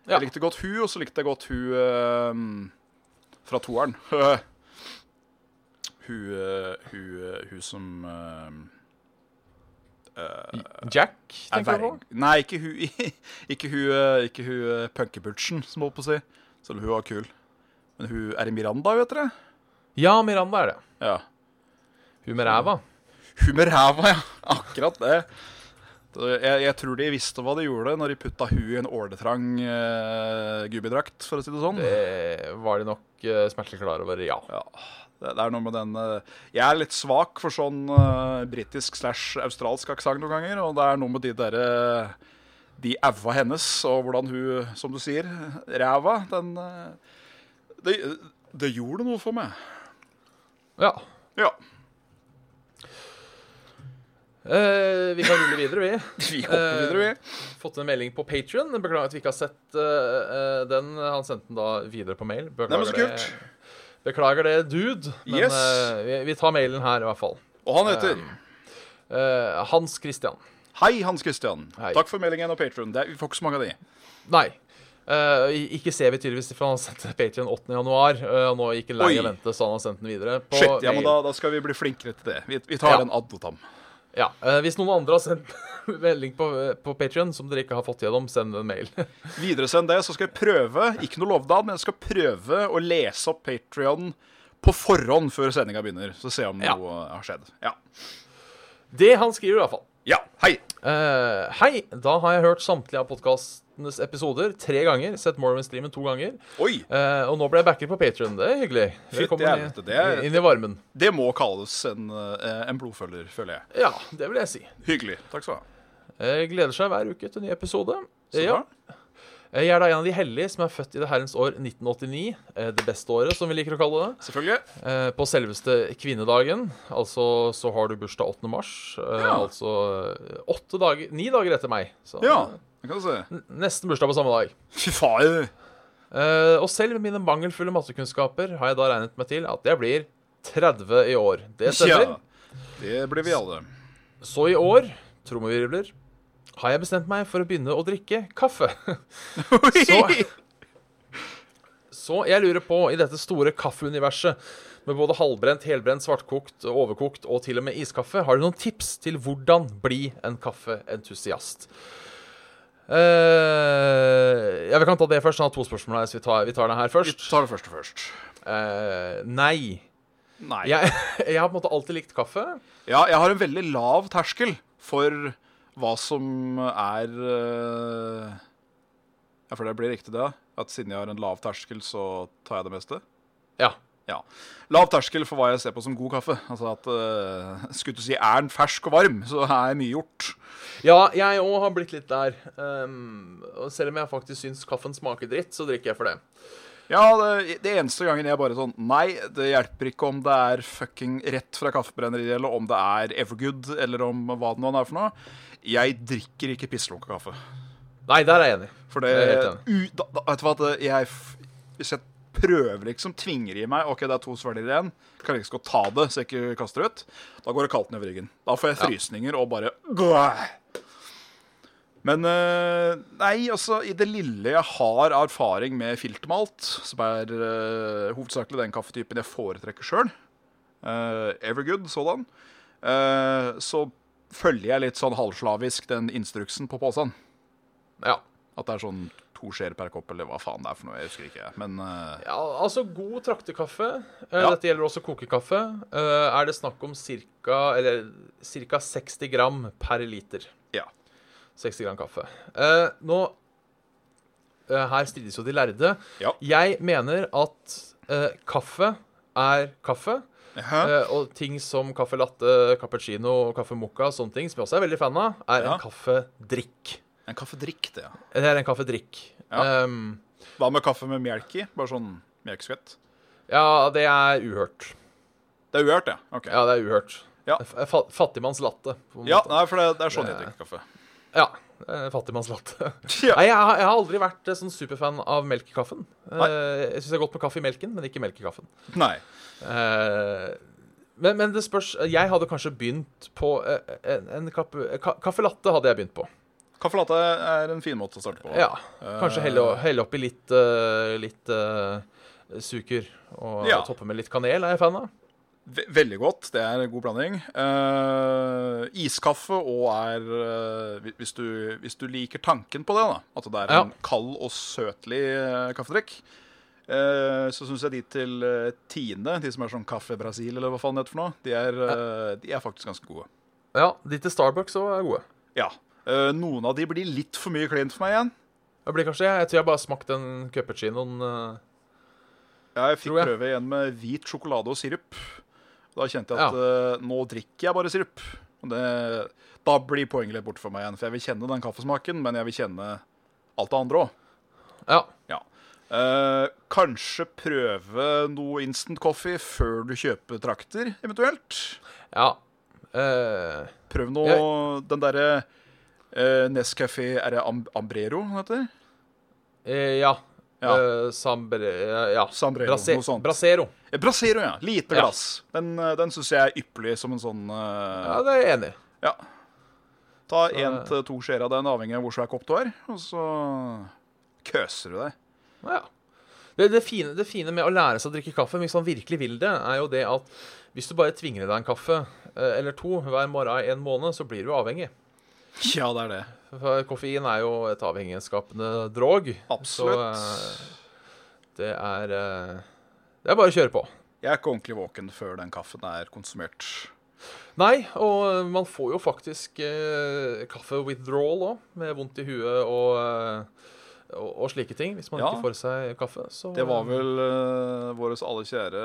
S3: Jeg likte godt hun, og så likte jeg godt hun eh, fra toeren. hun, eh, hun, eh, hun som eh, eh,
S2: Jack,
S3: er
S2: tenker du på?
S3: verg. Nei, ikke hun Ikke hun, eh, ikke hun eh, punkebutchen, som holdt på å si. Selv om hun var kul. Men hun er i Miranda, vet dere.
S2: Ja, Miranda er det.
S3: Ja.
S2: Hun med ræva.
S3: Hun med ræva, ja. Akkurat det. Så Jeg, jeg tror de visste hva de gjorde når de putta hun i en åletrang eh, gubbidrakt, for å si det sånn.
S2: Det var de nok eh, smertelig klar over, ja.
S3: Ja, det, det er noe med den eh, Jeg er litt svak for sånn uh, britisk slash australsk aksent noen ganger, og det er noe med de derre De æva hennes, og hvordan hun, som du sier, ræva, den eh, det, det gjorde noe for meg.
S2: ja.
S3: Ja.
S2: Eh, vi kan rulle videre, vi.
S3: Vi hopper videre, vi.
S2: fått en melding på Patrion. Beklager at vi ikke har sett eh, eh, den. Han sendte den da videre på mail.
S3: Nei, men så
S2: Beklager,
S3: kult.
S2: Beklager det, dude. Men
S3: Yes.
S2: eh, vi, vi tar mailen her, i hvert fall.
S3: Og han heter
S2: Eh, Hans Christian.
S3: Hei, Hans Christian.
S2: Hei.
S3: Takk for meldingen og Patron. Vi får ikke så mange av de.
S2: Nei. Eh, i- ikke ser vi tydeligvis, for han sendte Patrion 8. januar. eh, og nå gikk han lei
S3: Oi.
S2: av vente, så han har sendt den videre. På
S3: Shit, ja, men
S2: mail.
S3: da, da skal vi bli flinkere til det. Vi, vi tar
S2: Ja.
S3: en ad og tam.
S2: Ja, eh, Hvis noen andre har sendt melding på, på Patrion som dere ikke har fått gjennom, send en mail.
S3: Videresend det, så skal jeg prøve, ikke noe lovnad, men jeg skal prøve å lese opp Patrion på forhånd før sendinga begynner. Så se om
S2: Ja.
S3: noe har skjedd. Ja.
S2: det han skriver, i hvert fall.
S3: ja. Hei.
S2: Eh, hei, da har jeg hørt samtlige av podkastenes episoder tre ganger. Sett Morrowind-streamen to ganger.
S3: Oi.
S2: Eh, og nå ble jeg backer på Patrion. Det er hyggelig.
S3: Fytti
S2: Velkommen
S3: helvete, det er-
S2: i- inn i varmen.
S3: Det må kalles en, eh, en blodfølger, føler jeg.
S2: Ja, det vil jeg si.
S3: Hyggelig. Takk skal du ha.
S2: Eh, gleder seg hver uke til en ny episode.
S3: Så
S2: ja.
S3: bra.
S2: Eh, Jeg er da en av de hellige som er født i det herrens år 1989. eh, Det beste året, som vi liker å kalle det.
S3: Selvfølgelig.
S2: Eh, på selveste kvinnedagen, altså så har du bursdag 8. mars. Eh,
S3: Ja.
S2: Altså eh, åtte dager Ni dager etter meg. Så
S3: Ja, det kan du se.
S2: n- nesten bursdag på samme dag.
S3: Fy faen.
S2: Eh, og selv med mine mangelfulle mattekunnskaper har jeg da regnet meg til at jeg blir 30 i år. Det stemmer.
S3: Ja. Det blir vi alle.
S2: Så i år, trommevirvler, har jeg bestemt meg for å begynne å drikke kaffe. Så, så jeg lurer på, i dette store kaffeuniverset, med både halvbrent, helbrent, svartkokt, overkokt og til og med iskaffe, har du noen tips til hvordan bli en kaffeentusiast? Eh, ja, vi kan ta det først. Han har to spørsmål her, så vi tar, vi tar det her
S3: Vi
S2: først.
S3: tar det første først.
S2: Eh, nei.
S3: Nei.
S2: Jeg, jeg har på en måte alltid likt kaffe.
S3: Ja, jeg har en veldig lav terskel for hva som er eh, Ja, for det blir riktig, det. da. At siden jeg har en lav terskel, så tar jeg det meste.
S2: Ja.
S3: Ja. Lav terskel for hva jeg ser på som god kaffe. Altså at eh, Skulle du si er den fersk og varm, så er mye gjort.
S2: Ja, jeg òg har blitt litt der. Ehm, og selv om jeg faktisk syns kaffen smaker dritt, så drikker jeg for det.
S3: Ja, det, det eneste gangen jeg bare sånn Nei, det hjelper ikke om det er fucking rett fra kaffebrenneriet, eller om det er Evergood, eller om hva det nå er for noe. Jeg drikker ikke pisslunka kaffe.
S2: Nei, der er jeg enig.
S3: For
S2: Jeg er
S3: det
S2: helt
S3: u, da, da, Vet du hva, det- jeg f- Hvis jeg prøver liksom, tvinger i meg OK, det er to svelger igjen, kan jeg ikke skal ta det så jeg ikke kaster det ut, da går det kaldt nedover ryggen. Da får jeg frysninger og bare Gah! Men eh, nei, altså, i det lille jeg har erfaring med filtermalt, som er eh, hovedsakelig den kaffetypen jeg foretrekker sjøl, Evergood sådan, eh, så følger jeg litt sånn halvslavisk den instruksen på posen.
S2: Ja.
S3: At det er sånn to skjeer per kopp, eller hva faen det er for noe. Jeg husker ikke. Men eh,
S2: ja altså, god traktekaffe. Eh,
S3: Ja.
S2: Dette gjelder også kokekaffe. Eh, er det snakk om ca. Eller ca. 60 gram per liter.
S3: ja.
S2: 60 gram kaffe. Eh, nå eh, Her strides jo de lærde.
S3: Ja.
S2: Jeg mener at eh, kaffe er kaffe.
S3: Hæ?
S2: Eh, og ting som kaffe latte, cappuccino, kaffe mocca, sånne ting, som jeg også er veldig fan av, er
S3: Ja.
S2: en kaffedrikk. Eh,
S3: En kaffedrikk, det. ja.
S2: Det er en kaffedrikk.
S3: Ja.
S2: Ehm,
S3: Hva med kaffe med melk i? Bare sånn melkeskvett?
S2: ja, det er uhørt.
S3: Det er uhørt, ja. Ok. Ja,
S2: Ja, det er uhørt.
S3: Ja.
S2: F- eh, fa- Fattigmanns latte. på en måte.
S3: nei, for det, det er sånn jeg
S2: Det-
S3: drikker kaffe.
S2: ja. eh, Fattigmanns latte.
S3: Ja.
S2: Nei, jeg, har- jeg har aldri vært eh, sånn superfan av melk i kaffen. Eh, jeg syns det er godt med kaffe i melken, men ikke melk i kaffen.
S3: Nei.
S2: Eh, men, men det spørs Jeg hadde kanskje begynt på eh, en, en kappe, ka, Kaffe latte hadde jeg begynt på.
S3: Kaffe latte er en fin måte å starte på.
S2: Ja. Kanskje helle, helle oppi litt, eh, litt eh, suker og
S3: Ja.
S2: toppe med litt kanel, er jeg fan av.
S3: Ve veldig godt. Det er en god blanding. Eh, iskaffe og er eh, hvi- hvis, du, hvis du liker tanken på det, da, at det er
S2: Ja.
S3: en kald og søtlig eh, kaffedrikk, eh, så syns jeg de til eh, Tine, de som er sånn Kaffe Brasil eller hva faen det heter for noe, de er, eh, de er faktisk ganske gode.
S2: Ja, de til Starbucks òg er gode.
S3: Ja. Eh, noen av de blir litt for mye kleint for meg igjen.
S2: Det blir kanskje, Jeg tror jeg bare smakte den cuppuccinoen. eh,
S3: Ja, jeg fikk
S2: Tror jeg.
S3: prøve igjen med hvit sjokolade og sirup. Da kjente jeg
S2: Ja.
S3: at eh, nå drikker jeg bare sirup. Og Det, da blir poenget litt borte for meg igjen, for jeg vil kjenne den kaffesmaken, men jeg vil kjenne alt det andre òg.
S2: Ja.
S3: Ja. Eh, kanskje prøve noe instant coffee før du kjøper trakter, eventuelt.
S2: ja. Eh,
S3: Prøv noe Den derre uh, Nescafé Er det Am Ambrero den heter?
S2: eh, ja.
S3: Ja.
S2: Eh, Sambre... eh, Ja.
S3: Sambrero, noe sånt.
S2: Brasero.
S3: Eh, Brasero, ja. Lite
S2: Ja.
S3: glass. Den, eh, den syns jeg er ypperlig som en sånn eh,
S2: Ja, det er jeg enig i.
S3: Ja. Ta én til to skjeer av den, avhengig av hvor svær kopp du har, og så køser du deg.
S2: Ja. Det, det, fine, det fine med å lære seg å drikke kaffe, hvis man virkelig vil det, er jo det at hvis du bare tvinger deg en kaffe eh, eller to hver morgen i en måned, så blir du avhengig.
S3: Ja, det er det.
S2: For koffein er jo et avhengighetsskapende drog.
S3: Absolutt.
S2: Så eh, det er eh, Det er bare å kjøre på.
S3: Jeg er ikke ordentlig våken før den kaffen er konsumert.
S2: Nei, og man får jo faktisk eh, kaffe-withdrawal òg, med vondt i huet og, eh, og, og slike ting. Hvis man
S3: Ja.
S2: ikke får seg kaffe, så
S3: Det var vel uh, vår alle kjære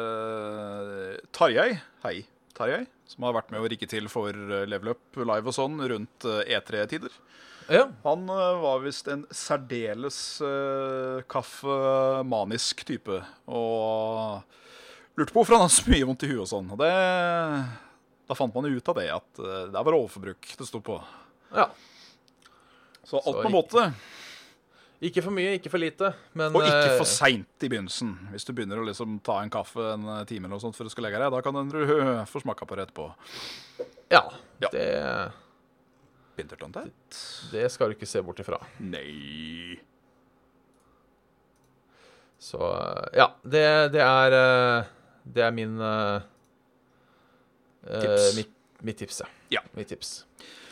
S3: eh, Tarjei Hei, Tarjei, som har vært med å rigge til for eh, Level Up Live og sånn rundt eh, E3-tider.
S2: Ja.
S3: Han eh, var visst en særdeles eh, kaffemanisk type. Og lurte på hvorfor han hadde så mye vondt i huet og sånn. Og det, da fant man jo ut av det, at eh, det var overforbruk det sto på.
S2: ja.
S3: Så alt
S2: Så
S3: på en
S2: ikke-
S3: måte.
S2: Ikke for mye, ikke for lite. Men,
S3: Og ikke
S2: eh,
S3: for seint i begynnelsen. Hvis du begynner å liksom ta en kaffe en eh, time eller noe sånt før du skal legge deg, da kan du øh, få smaka på det etterpå.
S2: Ja,
S3: Ja.
S2: Det,
S3: Binder du den tett?
S2: det skal du ikke se bort ifra.
S3: Nei.
S2: Så eh, ja, det, det er eh, Det er min eh, eh,
S3: Tips.
S2: Mitt, mitt tips,
S3: Ja.
S2: Mitt tips.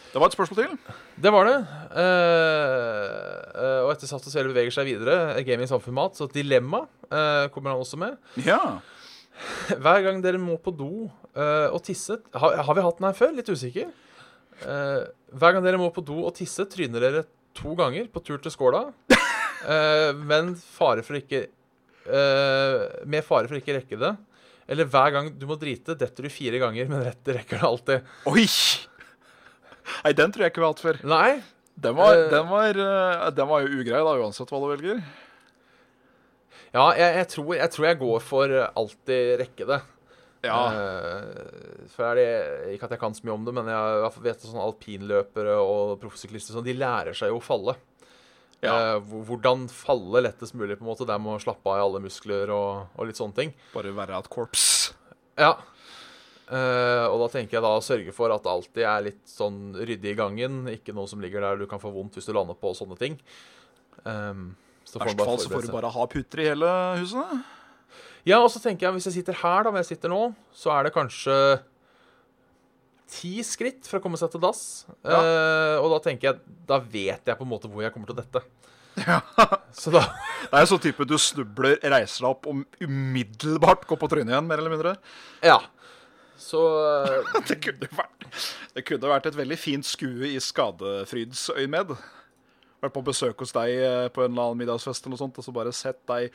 S3: Det var et spørsmål til.
S2: Det var det. Eh, eh, og etter Saft og Svele beveger seg videre, eh, gaming samfunn mat, så dilemma eh, kommer han også med.
S3: Ja.
S2: Hver gang dere må på do eh, og tisse har, har vi hatt den her før? Litt usikker. Eh, hver gang dere må på do og tisse, tryner dere to ganger på tur til skåla. Eh, men fare for ikke eh, Med fare for ikke rekke det. Eller hver gang du må drite, detter du fire ganger, men rett rekker det alltid.
S3: Oi! Nei, den tror jeg ikke vi har hatt før.
S2: Nei,
S3: Den var,
S2: Eh.
S3: den, var, eh, den var jo ugrei, da, uansett hva du velger.
S2: Ja, jeg, jeg, tror, jeg tror jeg går for eh, alltid rekke det.
S3: Ja,
S2: Eh, for er det, Ikke at jeg kan så mye om det, men jeg i hvert fall vet at sånne alpinløpere og proffsyklister sånn, de lærer seg jo å falle.
S3: Ja.
S2: Eh, hvor- hvordan falle lettest mulig, på en måte. Der med å slappe av i alle muskler og, og litt sånne ting.
S3: Bare verre et korps.
S2: Ja. Eh, og da tenker jeg da å sørge for at det alltid er litt sånn ryddig i gangen. Ikke noe som ligger der du kan få vondt hvis du lander på og sånne ting. Um, så
S3: I verste fall så får du bare ha puter i hele huset.
S2: Ja, og så tenker jeg, hvis jeg sitter her da, hvor jeg sitter nå, så er det kanskje ti skritt for å komme seg til dass.
S3: Ja.
S2: Eh, og da tenker jeg, da vet jeg på en måte hvor jeg kommer til å dette. Så da,
S3: Det er sånn type du snubler, reiser deg opp og umiddelbart går på trynet igjen, mer eller mindre.
S2: ja. Så eh,
S3: Det kunne vært, det kunne vært et veldig fint skue i skadefrydsøyemed. Vært på besøk hos deg eh, på en eller annen middagsfest eller noe sånt, og så bare sett deg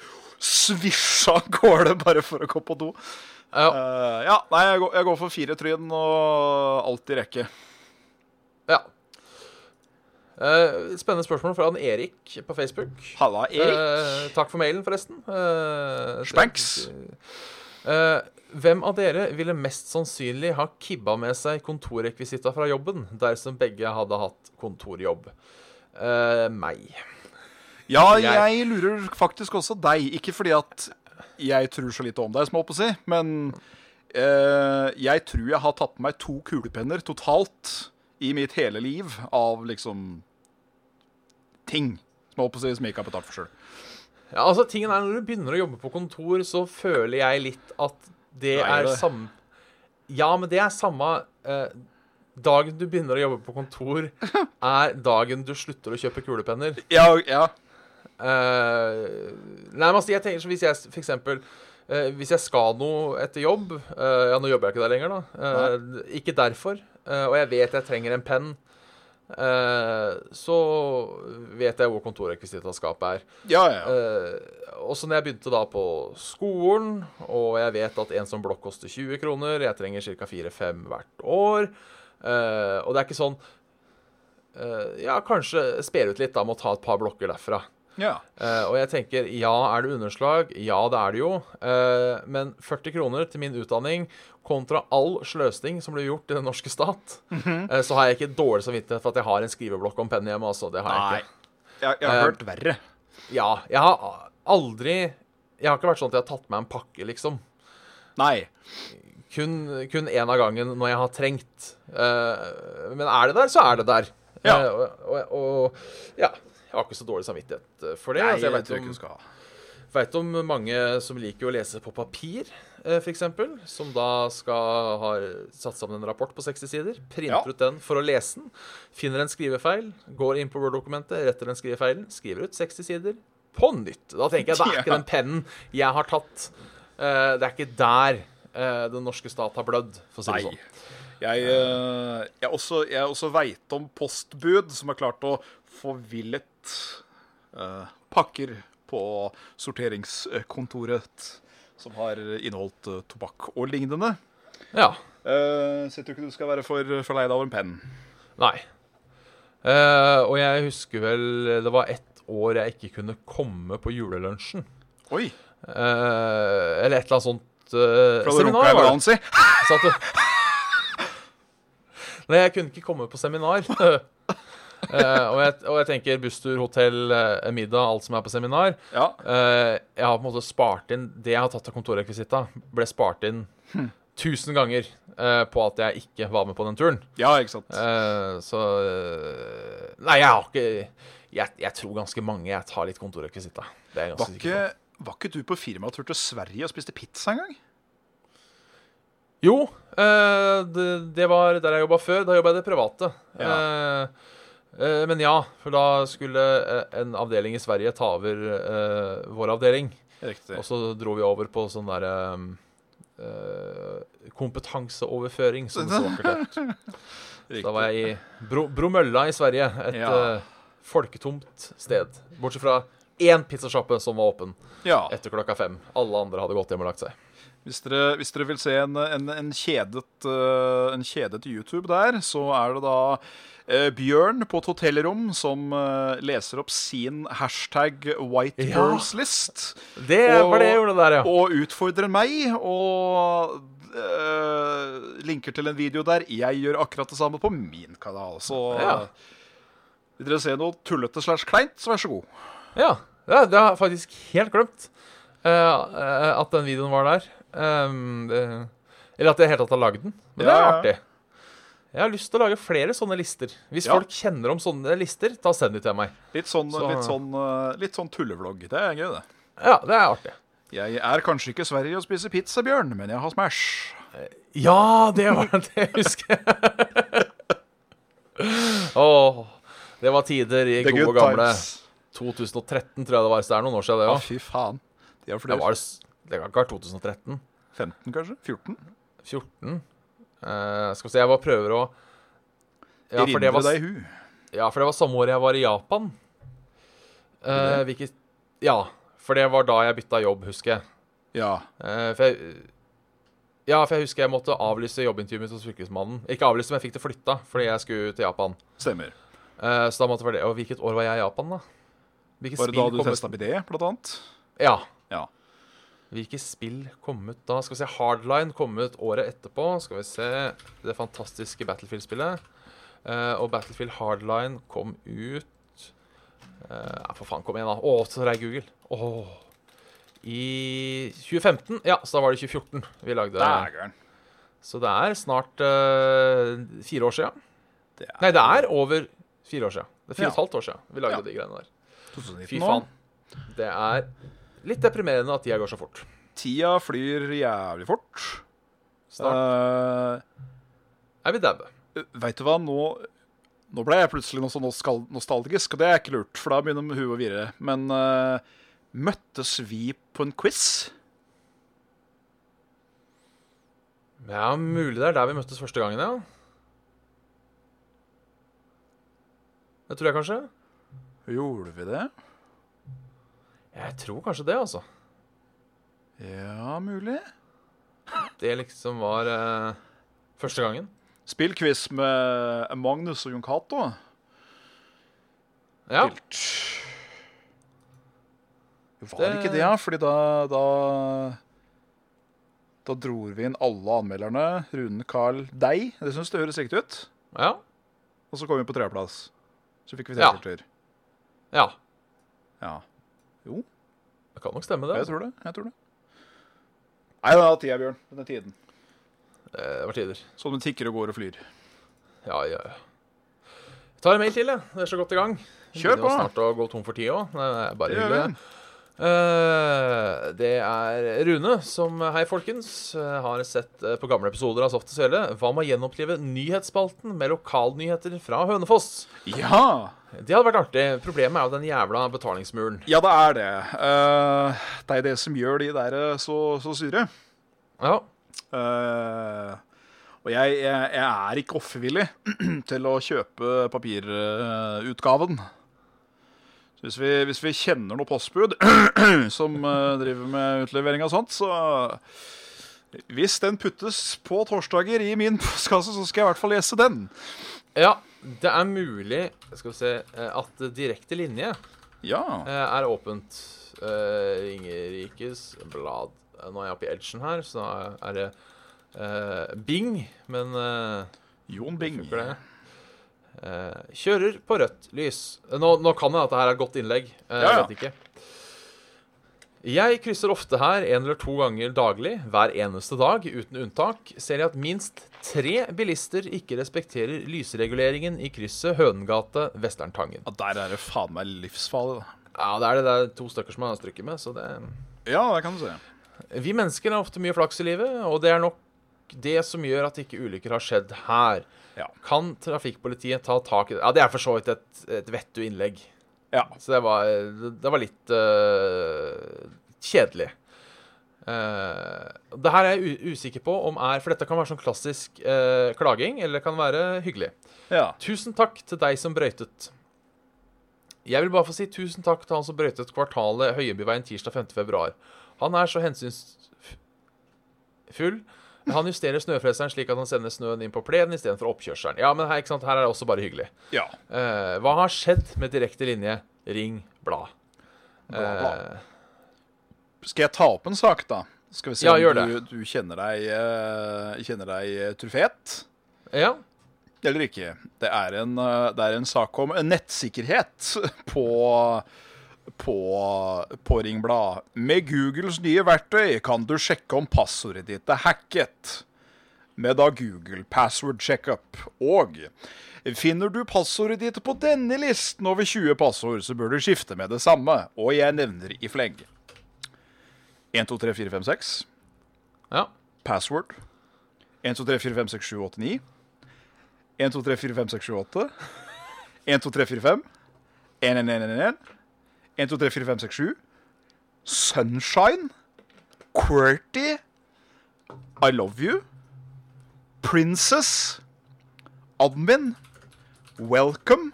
S3: svisje av gårde bare for å gå på do.
S2: ja,
S3: Eh, ja, nei, jeg går, jeg går for fire tryn og alt i rekke.
S2: ja. Eh, spennende spørsmål fra han Erik på Facebook.
S3: Halla, Erik.
S2: Eh, takk for mailen, forresten. Eh,
S3: Spanks.
S2: Eh, hvem av dere ville mest sannsynlig ha kibba med seg kontorrekvisitta fra jobben, dersom begge hadde hatt kontorjobb? Eh, meg.
S3: Ja,
S2: Jeg-
S3: jeg lurer faktisk også deg. Ikke fordi at jeg tror så lite om deg, som jeg holdt på å si, men eh, jeg tror jeg har tatt med meg to kulepenner totalt i mitt hele liv av liksom ting. Som jeg holdt på å si, som jeg ikke har betalt for sjøl.
S2: Ja, altså, tingen er, når du begynner å jobbe på kontor, så føler jeg litt at det
S3: Nei,
S2: er
S3: det-
S2: samme Ja, men det er samme eh, Dagen du begynner å jobbe på kontor, er dagen du slutter å kjøpe kulepenner.
S3: Ja, ja.
S2: Eh, nei, men altså, jeg tenker så Hvis jeg s- for eksempel eh, Hvis jeg skal noe etter jobb eh, Ja, nå jobber jeg ikke der lenger, da. eh, ikke derfor. eh, og jeg vet jeg trenger en penn. eh, så vet jeg hvor kontorrekvisitaskapet er.
S3: ja, ja.
S2: Eh, også når jeg begynte da på skolen, og jeg vet at en sånn blokk koster 20 kroner, jeg trenger ca. 4-5 hvert år. eh, og det er ikke sånn eh, Ja, kanskje spere ut litt da med å ta et par blokker derfra.
S3: ja.
S2: Eh, og jeg tenker, ja, er det underslag? Ja, det er det jo. Eh, men 40 kroner til min utdanning kontra all sløsing som blir gjort i den norske stat,
S3: Mhm.
S2: eh, så har jeg ikke dårlig samvittighet for at jeg har en skriveblokk om penn hjemme. Altså. Det har jeg
S3: Nei.
S2: ikke.
S3: Jeg, jeg har
S2: Eh,
S3: hørt verre.
S2: Ja, jeg har aldri Jeg har ikke vært sånn at jeg har tatt meg en pakke, liksom.
S3: Nei.
S2: Kun kun én av gangen når jeg har trengt. Eh, men er det der, så er det der.
S3: Ja.
S2: Eh, og, og, og ja. Jeg har ikke så dårlig samvittighet for det.
S3: Nei,
S2: altså, jeg vet
S3: tror
S2: om-
S3: ikke du skal ha.
S2: Veit om mange som liker å lese på papir, f.eks. Som da skal ha satt sammen en rapport på 60 sider, printer
S3: Ja.
S2: ut den for å lese den, finner en skrivefeil, går inn på Word-dokumentet, retter den skrivefeilen, skriver ut 60 sider på nytt. Da tenker jeg det er ikke
S3: Ja.
S2: den pennen jeg har tatt. Eh, Det er ikke der eh, den norske stat har blødd, for å si det
S3: Nei.
S2: sånn.
S3: Jeg, eh, jeg også, jeg også veit om postbud som har klart å forvillet eh, pakker på sorteringskontoret som har inneholdt eh, tobakk og lignende.
S2: Ja.
S3: Uh, så jeg tror ikke du skal være for forleid av en penn.
S2: Nei. Eh, Og jeg husker vel det var ett år jeg ikke kunne komme på julelunsjen.
S3: Oi!
S2: Eh, eller et eller annet sånt eh,
S3: Fra det runka
S2: seminar.
S3: jeg
S2: Var
S3: bra
S2: det.
S3: si.
S2: Så at du... Nei, jeg kunne ikke komme på seminar. Eh, og, jeg, og jeg tenker busstur, hotell, eh, middag, alt som er på seminar.
S3: Ja.
S2: Eh, jeg har på en måte spart inn Det jeg har tatt av kontorrekvisitta, ble spart inn
S3: Hm.
S2: tusen ganger eh, på at jeg ikke var med på den turen.
S3: ja, ikke sant.
S2: Eh, så eh, Nei, jeg har ikke jeg, jeg tror ganske mange jeg tar litt kontorrekvisitta. Det er jeg
S3: Var
S2: ganske altså, sikker på.
S3: ikke, var ikke du på firmatur til Sverige og spiste pizza en gang?
S2: Jo, eh, det, det var der jeg jobba før. Da jobba jeg i det private. Eh, eh, men ja, for da skulle eh, en avdeling i Sverige ta over eh, vår avdeling.
S3: Riktig.
S2: Og så dro vi over på sånn derre eh, kompetanseoverføring, som det så vakkert het. Da var jeg i Bro, Bromølla i Sverige. Et
S3: Ja.
S2: eh, folketomt sted. Bortsett fra én pizzasjappe som var åpen
S3: Ja.
S2: etter klokka fem. Alle andre hadde gått hjem og lagt seg.
S3: Hvis dere, hvis dere vil se en, en, en, kjedet, eh, en kjedet YouTube der, så er det da eh, Bjørn på et hotellrom som eh, leser opp sin hashtag White
S2: Ja.
S3: Girls List.
S2: Det
S3: Og-
S2: var det jeg gjorde der, ja.
S3: Og utfordrer meg og eh, linker til en video der jeg gjør akkurat det samme på min kanal. Så
S2: Ja.
S3: vil dere se noe tullete slash kleint, så vær så god.
S2: Ja, ja det har jeg faktisk helt glemt eh, eh, at den videoen var der. Ehm, det- eller at jeg i det hele tatt har lagd den. Men det er
S3: Ja, ja.
S2: artig. Jeg har lyst til å lage flere sånne lister. Hvis
S3: Ja.
S2: folk kjenner om sånne lister, da send de til meg.
S3: Litt sånn,
S2: Så-
S3: litt sånn, eh, litt sånn tullevlogg. Det er gøy, det.
S2: Ja, det er artig.
S3: Jeg er kanskje ikke i Sverige og spiser pizza, Bjørn, men jeg har Smash.
S2: Ja, det var det jeg husker. Åh, det var tider i gode og gamle 2013, tror jeg det var. Så det er noen år siden, det
S3: Ja,
S2: òg.
S3: fy faen. De er
S2: Det,
S3: flere.
S2: var s- det kan ikke være 2013.
S3: 15, kanskje? 14?
S2: 14. Eh, skal vi se, jeg bare prøver å ja for, det
S3: Erindre
S2: var,
S3: deg i hu.
S2: ja, for det var samme år jeg var i Japan. Eh, hvilket Ja, for det var da jeg bytta jobb, husker jeg.
S3: Ja.
S2: Eh, for jeg ja, for jeg husker jeg måtte avlyse jobbintervjuet mitt hos Fylkesmannen. Ikke avlyse, men jeg fikk det flytta fordi jeg skulle til Japan.
S3: Stemmer.
S2: Eh, så da måtte jeg være det. Og hvilket år var jeg i Japan, da? Hvilke
S3: Var det da du
S2: kom ut-
S3: testa bidé, blant annet?
S2: Ja.
S3: Ja.
S2: Hvilke spill kom ut da? Skal vi se, Hardline kom ut året etterpå. Skal vi se det fantastiske Battlefield-spillet. Eh, og Battlefield Hardline kom ut eh, ja, For faen, kom igjen, da. Å, så rei Google. Åh. I 2015. Ja, så da var det 2014 vi lagde.
S3: Dægeren.
S2: Så det er snart eh, fire år sia.
S3: Det er
S2: Nei, det er over fire år sia. Det er fire
S3: Ja.
S2: og et halvt år sia vi lagde
S3: Ja.
S2: de greiene der.
S3: 2019
S2: Fy
S3: nå.
S2: faen. Det er litt deprimerende at tida går så fort.
S3: Tida flyr jævlig fort.
S2: Snart er vi dabbe.
S3: Eh, Vet du hva, nå Nå ble jeg plutselig noe sånn noskal- nostalgisk, og det er ikke lurt, for da begynner huet å virre. Men eh, møttes vi på en quiz?
S2: Ja, mulig det er der vi møttes første gangen, ja. Det tror jeg kanskje.
S3: Gjorde vi det?
S2: Jeg tror kanskje det, altså.
S3: Ja, mulig.
S2: Det liksom var eh, første gangen.
S3: Spill quiz med Magnus og Jon Cato.
S2: Ja.
S3: Spilt. Var det ikke det, ja? Fordi da, da Da dro vi inn alle anmelderne. Rune, Carl, deg. Det syns det høres riktig ut.
S2: Ja.
S3: Og så kom vi på tredjeplass. Så fikk vi
S2: Ja.
S3: T-skjorter.
S2: ja.
S3: Ja. Jo,
S2: Det kan nok stemme, det.
S3: jeg
S2: Altså.
S3: tror det. Jeg tror det. Nei, det er tida, Bjørn. Den er tiden.
S2: Eh, Det var tider.
S3: Så den tikker og går og flyr.
S2: Ja, ja, ja. Jeg tar en mail til, jeg. Vi er så godt i gang. Vi
S3: Kjør
S2: begynner jo
S3: på.
S2: snart å gå tom for tid òg. Det er bare
S3: Det gjør
S2: hyggelig.
S3: vi.
S2: Eh, det er Rune som Hei, folkens. eh, Har sett eh, på gamle episoder av Soft og Svele hva med å gjenopplive nyhetsspalten med lokalnyheter fra Hønefoss?
S3: Ja!
S2: Det hadde vært artig. Problemet er jo den jævla betalingsmuren.
S3: Ja, det er det. Eh, det er det som gjør de der eh, så, så sure.
S2: Ja.
S3: Eh, og jeg, jeg, jeg er ikke offervillig til å kjøpe papirutgaven. Så hvis vi, hvis vi kjenner noe postbud som eh, driver med utlevering og sånt, så Hvis den puttes på torsdager i min postkasse, så skal jeg i hvert fall lese den.
S2: ja. Det er mulig skal vi se, eh, at direkte linje
S3: Ja.
S2: eh, er åpent. Eh, Ringerikes Blad Eh, Nå er jeg oppe i Edgen her, så da er det eh, Bing, men eh,
S3: Jon Bing.
S2: Funker det? Eh, kjører på rødt lys. Eh, Nå, nå kan jeg at dette her er et godt innlegg. Eh,
S3: Ja, ja.
S2: Jeg vet ikke. Jeg krysser ofte her en eller to ganger daglig, hver eneste dag, uten unntak, ser jeg at minst tre bilister ikke respekterer lysreguleringen i krysset Hønengate-Vesterntangen.
S3: Ja, der er det faen meg livsfarlig, da.
S2: Ja, det er det der to stykker som har strykket med, så det
S3: Ja, det kan du se.
S2: Vi mennesker har ofte mye flaks i livet, og det er nok det som gjør at ikke ulykker har skjedd her.
S3: Ja.
S2: Kan trafikkpolitiet ta tak i det? Ja, det er for så vidt et, et vettug innlegg.
S3: Ja.
S2: Så det var, det var litt eh, kjedelig. Eh, det her er jeg u usikker på om er For dette kan være sånn klassisk eh, klaging, eller det kan være hyggelig.
S3: ja.
S2: Tusen takk til deg som brøytet. Jeg vil bare få si tusen takk til han som brøytet kvartalet Høyebyveien tirsdag 5. februar. Han er så hensynsfull. Han justerer snøfreseren slik at han sender snøen inn på plenen istedenfor oppkjørselen. Ja, men her, ikke sant? her er det også bare hyggelig.
S3: ja.
S2: Eh, hva har skjedd med direkte linje? Ring blad.
S3: Bla, bla.
S2: Eh,
S3: Skal jeg ta opp en sak, da? Skal vi se
S2: Ja, gjør
S3: om du, du kjenner deg, eh, kjenner deg eh, truffet
S2: ja.
S3: eller ikke. Det er en, eh, det er en sak om nettsikkerhet på, på, på Ringblad. Med Googles nye verktøy kan du sjekke om passordet ditt er hacket. Med da Google Password Checkup. Og finner du passordet ditt på denne listen over 20 passord, så bør du skifte med det samme. Og jeg nevner i fleng. 1, 2, 3, 4, 5, 6
S2: ja.
S3: password 1, 2, 3, 4, 5, 6, 7, 8, 9 1, 2, 3, 4, 5, 6, 7, 8 1, 2, 3, 4, 5 1, 1, 1, 1, 1 1, 2, 3, 4, 5, 6, 7 Sunshine QWERTY I love you Princess Admin Welcome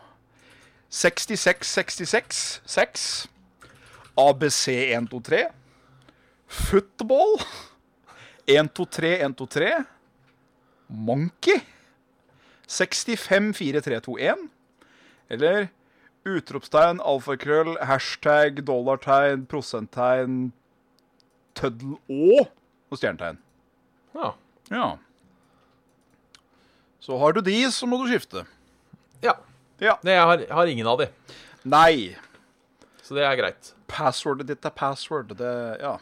S3: 66, 66, 6 ABC 1, 2, 3 Football 1, 2, 3, 1, 2, 3. Monkey. 65, 4, 3, 2, 1. Eller utropstegn, alfakrøll, hashtag, dollartegn, prosenttegn, tøddel og og stjernetegn.
S2: ja.
S3: Ja. Så har du de, så må du skifte.
S2: Ja.
S3: Ja.
S2: Nei, jeg har, jeg har ingen av de,
S3: Nei.
S2: så det er greit.
S3: Passwordet ditt er password. Det, ja.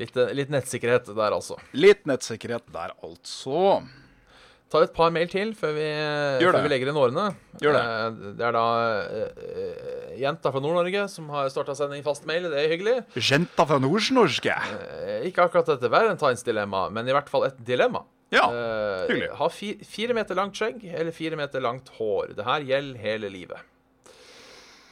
S2: Litt, eh, litt nettsikkerhet der, altså.
S3: Litt nettsikkerhet der, altså.
S2: tar et par mail til før vi,
S3: Gjør
S2: før
S3: det.
S2: vi legger inn årene.
S3: Gjør det.
S2: Eh, det er da eh, eh, jenta fra Nord-Norge som har starta sending i fast mail. Det er hyggelig.
S3: Jenta fra Nordsnorske.
S2: Eh, Ikke akkurat et valentinsdilemma, men i hvert fall et dilemma.
S3: Ja,
S2: Eh,
S3: Ah, hyggelig.
S2: ha fi, fire meter langt skjegg eller fire meter langt hår. Det her gjelder hele livet.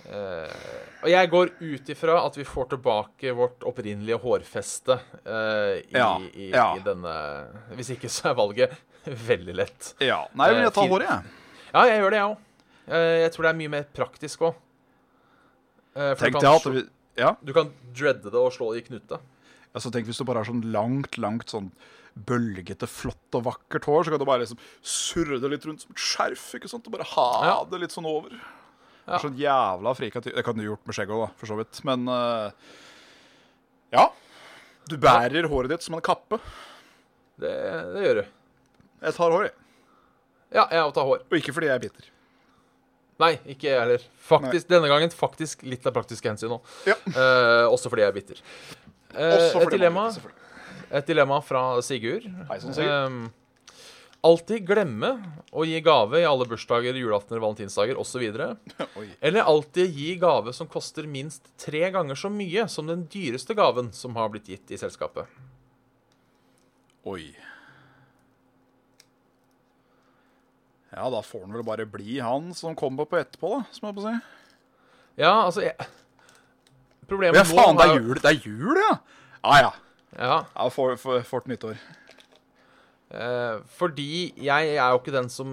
S2: Eh, og jeg går ut ifra at vi får tilbake vårt opprinnelige hårfeste eh, i,
S3: Ja,
S2: i,
S3: ja.
S2: i denne Hvis ikke så er valget veldig lett.
S3: ja. Nei, men jeg tar
S2: Eh,
S3: håret, jeg.
S2: Ja, jeg gjør det, jeg òg. jeg tror det er mye mer praktisk Eh, òg.
S3: Tenk deg at vi, ja.
S2: Du kan dreade det og slå det i knute.
S3: altså, tenk hvis du bare har sånn langt, langt sånn bølgete, flott og vakkert hår, så kan du bare liksom surre det litt rundt som et skjerf. ikke sant? Og bare ha
S2: Ja.
S3: det litt sånn over. Det er Sånn jævla frika Det kan du gjort med skjegget òg, da, for så vidt. Men eh, ja. Du bærer håret ditt som en kappe.
S2: Det, det gjør du.
S3: Jeg tar håret, jeg.
S2: Ja, jeg òg tar hår.
S3: og ikke fordi jeg er bitter.
S2: Nei, ikke jeg heller. Faktisk, Denne gangen faktisk litt av praktiske hensyn òg.
S3: Ja.
S2: Eh, også fordi jeg er bitter. Eh,
S3: Også fordi
S2: et,
S3: man
S2: dilemma,
S3: er bitter, selvfølgelig.
S2: et dilemma fra Sigurd.
S3: Hei sånn sann, Sigurd.
S2: Eh, alltid glemme å gi gave i alle bursdager, julaftener, valentinsdager osv.
S3: Oi.
S2: Eller alltid gi gave som koster minst tre ganger så mye som den dyreste gaven som har blitt gitt i selskapet.
S3: Oi. Ja, da får han vel bare bli han som kommer på etterpå, da, som jeg på å si.
S2: Ja, altså jeg... Problemet
S3: Ja, faen, det
S2: er
S3: er
S2: jo-
S3: jul, det er jul, ja! Ja, ja.
S2: Ja,
S3: ja for, for, for et nyttår.
S2: eh, fordi jeg er jo ikke den som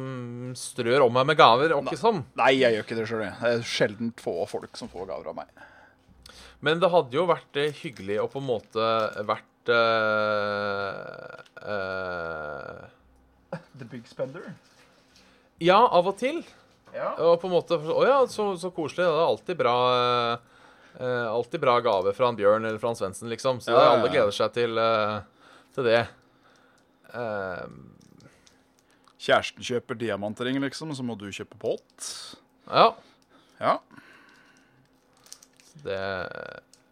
S2: strør om meg med gaver, og ikke sånn.
S3: Nei, jeg gjør ikke det sjøl, jeg. Det er sjelden få folk som får gaver av meg.
S2: Men det hadde jo vært eh, hyggelig å på en måte vært eh, eh,
S3: The Big Spender?
S2: Ja, av og til.
S3: Ja.
S2: Og på en måte Å ja, så, så koselig. Det er alltid bra eh, eh, Alltid bra gave fra en Bjørn eller fra en Svendsen, liksom. Så
S3: Ja, ja, ja.
S2: alle gleder seg til, eh, til det. Eh,
S3: Kjæresten kjøper diamantring, liksom, så må du kjøpe pott.
S2: ja.
S3: Ja.
S2: Det